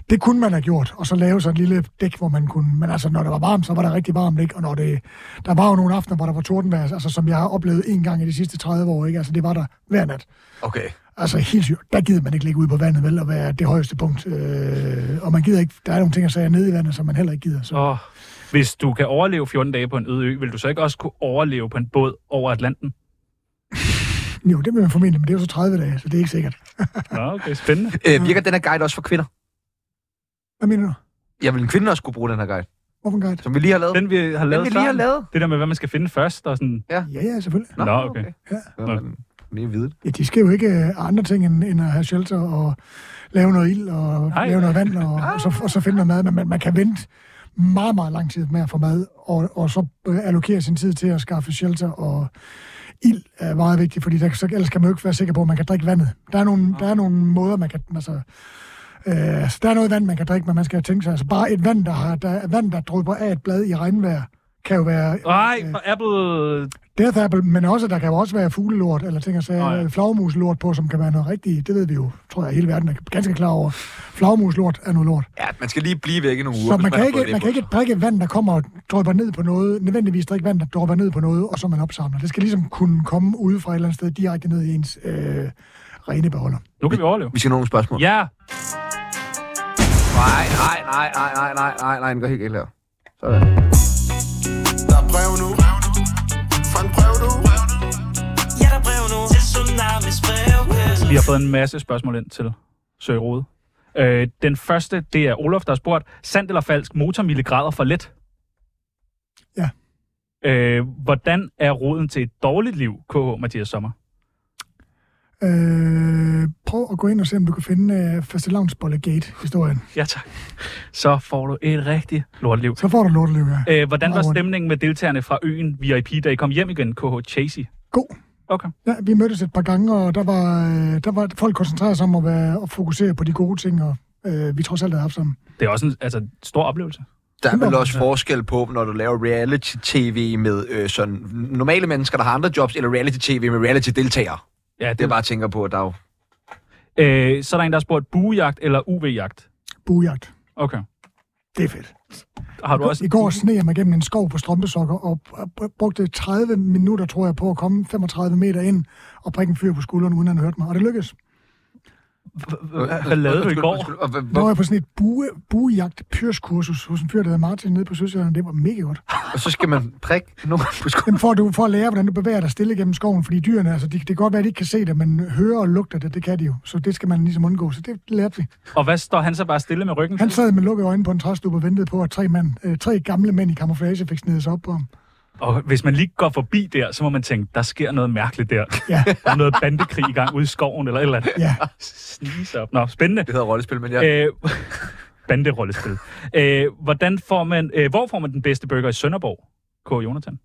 D: Det kunne man have gjort, og så lave sådan et lille dæk, hvor man kunne... Men altså, når det var varmt, så var det rigtig varmt, ikke? Og når det... Der var jo nogle aftener, hvor der var tordenvejr, altså, som jeg har oplevet en gang i de sidste 30 år, ikke? Altså, det var der hver nat.
A: Okay.
D: Altså helt sygt. Der gider man ikke ligge ude på vandet, vel, og være det højeste punkt. Øh, og man gider ikke, der er nogle ting, jeg sagde nede i vandet, som man heller ikke gider. Så.
C: Åh. Hvis du kan overleve 14 dage på en øde ø, vil du så ikke også kunne overleve på en båd over Atlanten?
D: Jo, det vil man formentlig, men det er jo så 30 dage, så det er ikke sikkert.
C: Nå, okay, spændende.
A: Øh, virker den her guide også for kvinder?
D: Hvad mener du?
A: Jeg vil en kvinde også kunne bruge den her guide,
D: Hvorfor en guide?
A: som vi lige har lavet.
C: Den vi har lavet
A: vi lige har
C: starten.
A: lavet.
C: Det der med, hvad man skal finde først, og sådan...
D: Ja, ja, selvfølgelig.
C: Nå, okay.
A: Ja.
D: Ja.
A: Nå, men- Lige vidt.
D: Ja, de skal jo ikke øh, andre ting end, end at have shelter og lave noget ild og
C: Nej.
D: Nej. lave noget vand og, og, så, og så finde noget mad. Men man, man kan vente meget, meget lang tid med at få mad, og, og så øh, allokere sin tid til at skaffe shelter og ild er meget vigtigt, fordi der, så, ellers kan man jo ikke være sikker på, at man kan drikke vandet. Der er nogle, der er nogle måder, man kan... Altså, øh, så der er noget vand, man kan drikke, men man skal tænke sig, altså bare et vand, der, har, der, vand, der drypper af et blad i regnvejr, kan jo være
C: Nej, for Apple...
D: Death Apple, men også, der kan jo også være fuglelort, eller ting at sige,
C: Nå ja.
D: oh, flagmuslort på, som kan være noget rigtigt. Det ved vi jo, tror jeg, hele verden er ganske klar over. Flagmuslort er noget lort.
A: Ja, man skal lige blive væk i nogle uger,
D: Så
A: hvis
D: man kan,
A: har
D: ikke,
A: fået det
D: man
A: på
D: kan ikke
A: sig.
D: drikke vand, der kommer og drøber ned på noget, nødvendigvis drikke vand, der drøber ned på noget, og så man opsamler. Det skal ligesom kunne komme ude fra et eller andet sted direkte ned i ens øh, rene beholder.
C: Nu kan vi overleve.
A: Vi skal have nogle spørgsmål.
C: Ja,
A: Nej, nej, nej, nej, nej, nej, nej, nej, den går helt galt her. Sådan.
I: Der er brev nu. Fra en brev nu.
E: Ja, der er brev nu til Tsunamis brevkasse.
C: vi har fået en masse spørgsmål ind til Søge Rode. Øh, den første, det er Olof, der har spurgt, sandt eller falsk, motormille grader for let?
D: Ja.
C: Øh, hvordan er roden til et dårligt liv, KH Mathias Sommer?
D: Øh, prøv at gå ind og se, om du kan finde øh, fastelavnsbolle gate-historien.
C: Ja tak. Så får du et rigtigt lorteliv.
D: Så får du lorteliv, ja.
C: Øh, hvordan var
D: Meget rundt.
C: stemningen med deltagerne fra øen VIP, da I kom hjem igen, KH Chasey?
D: God.
C: Okay.
D: Ja, vi mødtes et par gange, og der var, øh, der var folk koncentreret sig om at, være, at fokusere på de gode ting, og øh, vi trods alt havde haft sammen.
C: Det er også en altså, stor oplevelse.
A: Der er vel
D: Kæmpe
A: også forskel på, når du laver reality-tv med øh, sådan normale mennesker, der har andre jobs, eller reality-tv med reality-deltagere.
C: Ja, det,
A: Det er
C: var.
A: bare at tænker på, at der er jo...
C: Øh, så er der en, der har spurgt buejagt eller UV-jagt.
D: Bujagt.
C: Okay.
D: Det er fedt.
C: Har Altså, du også...
D: I går sneg jeg mig gennem en skov på strømpesokker, og b- brugte 30 minutter, tror jeg, på at komme 35 meter ind og prikke en fyr på skulderen, uden han hørte mig. Og det lykkedes.
C: Hvad lavede du i
A: Undskyld,
C: går?
A: undskyld, og hvad-
D: Der var
A: hvor-
D: jeg på sådan et bue, buejagt pyrskursus hos en fyr, der hedder Martin, nede på Sydsjælland. Det var mega godt.
A: Og så skal man prikke nogen på skolen.
D: Jamen for, at du, for at lære, hvordan du bevæger dig stille gennem skoven, fordi dyrene, altså, de, det kan godt være, at de ikke kan se det, men høre og lugte det, det kan de jo. Så det skal man ligesom undgå. Så det lærte vi.
C: Og hvad står han så bare stille med ryggen?
D: Han
C: til?
D: sad med lukkede øjne på en træstup og ventede på, at tre, mænd, øh, tre gamle mænd i kamuflage fik snedet sig op på ham.
C: Og hvis man lige går forbi der, så må man tænke, der sker noget mærkeligt der.
D: Ja,
C: Der er noget bandekrig i gang ude i skoven eller et eller andet.
D: ja.
C: Snise op. Nå, spændende.
A: Det hedder rollespil, men jeg...
C: Øh, banderollespil. Øh, hvordan får man, øh, hvor får man den bedste burger i Sønderborg? K. Jonathan.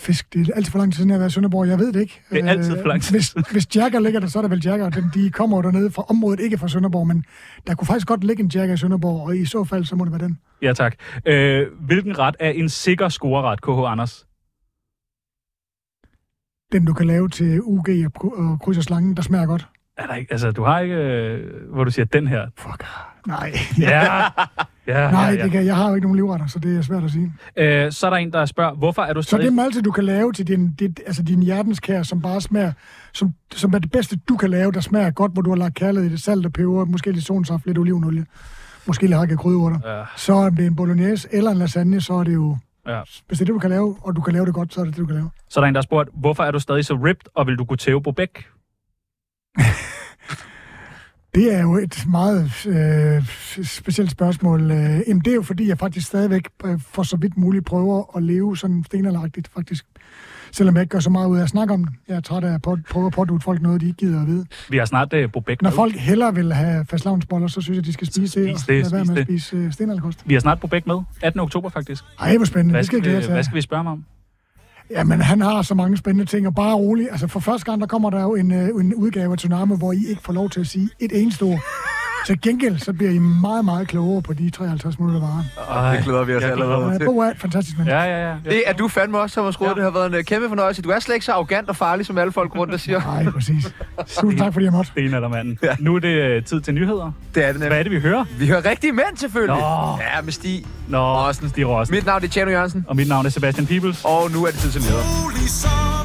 D: Fisk, det er alt for lang tid siden, jeg har været i Sønderborg. Jeg ved det ikke. Øh,
C: Det er altid for lang tid.
D: Hvis, hvis Jacker ligger der, så er der vel Jacker. Dem, de kommer jo dernede fra området, ikke fra Sønderborg, men der kunne faktisk godt ligge en Jacker i Sønderborg, og i så fald, så må det være den.
C: Ja, tak. Øh, hvilken ret er en sikker scoreret, KH Anders?
D: Den, du kan lave til UG og, kry- og kryds og slangen, der smager godt.
C: Er der ikke, altså, du har ikke, øh, hvor du siger, den her.
D: Fuck. Nej.
C: Ja, ja,
D: Nej,
C: ja,
D: det
C: ja.
D: kan, jeg har jo ikke nogen livretter, så det er svært at sige.
C: Øh, så er der en, der spørger, hvorfor er du
D: Så det
C: stadig...
D: måltid, du kan lave til din, dit, altså din hjertenskær, som bare smager, som, som er det bedste, du kan lave, der smager godt, hvor du har lagt kærlighed i det, salt og peber, måske lidt sonsaft, lidt olivenolie, måske lidt hakket krydderurter.
C: Ja.
D: Så om det er en bolognese eller en lasagne, så er det jo...
C: Ja.
D: Hvis det er det, du kan lave, og du kan lave det godt, så er det det, du kan lave.
C: Så er der en, der har spurgt, hvorfor er du stadig så ripped, og vil du kunne tæve på bæk?
D: Det er jo et meget øh, specielt spørgsmål. Øh, Jamen, det er jo fordi, jeg faktisk stadigvæk øh, for så vidt muligt prøver at leve sådan stenalagtigt, faktisk. Selvom jeg ikke gør så meget ud af at snakke om det. Jeg er træt af at på- prøve at pådute folk noget, de ikke gider at vide.
C: Vi har snart øh, på bæk.
D: Når folk hellere vil have fastlavnsboller, så synes jeg, de skal spise, det, og
C: Spis
D: lade
C: det,
D: være
C: spis
D: med
C: det.
D: at spise øh, stenalkost.
C: Vi har snart på bæk med. 18. oktober, faktisk.
D: Ej, hvor spændende.
C: Hvad
D: det skal
C: skal,
D: jeg glæde jer
C: vi,
D: til.
C: hvad skal vi spørge mig om?
D: Jamen, han har så mange spændende ting, og bare rolig. Altså, for første gang, der kommer der jo en, øh, en udgave af Tsunami, hvor I ikke får lov til at sige et eneste ord. Til gengæld, så bliver I meget, meget klogere på de 53 minutter, der var.
A: Det glæder vi os
C: jeg glæder
A: allerede
D: Øh,
A: til.
D: Bo er et fantastisk mand.
C: Ja, ja, ja.
A: Det er du fandme også, Thomas Rode. Det har været en øh, kæmpe fornøjelse. Du er slet ikke så arrogant og farlig, som alle folk rundt der siger.
D: Nej, præcis. Tusind tak, fordi jeg måtte.
C: Det er der manden. Ja. Nu er det øh, tid til nyheder.
A: Det er det
C: Hvad
A: nemlig.
C: er det, vi hører?
A: Vi hører rigtige mænd, selvfølgelig.
C: Nå.
A: Ja, med Stig.
C: Nå,
A: Rossen.
C: Stig Rossen.
A: Mit navn er Tjerno Jørgensen,
C: Og mit navn er Sebastian Peebles.
A: og nu er det tid til nyheder.
I: Rolig så.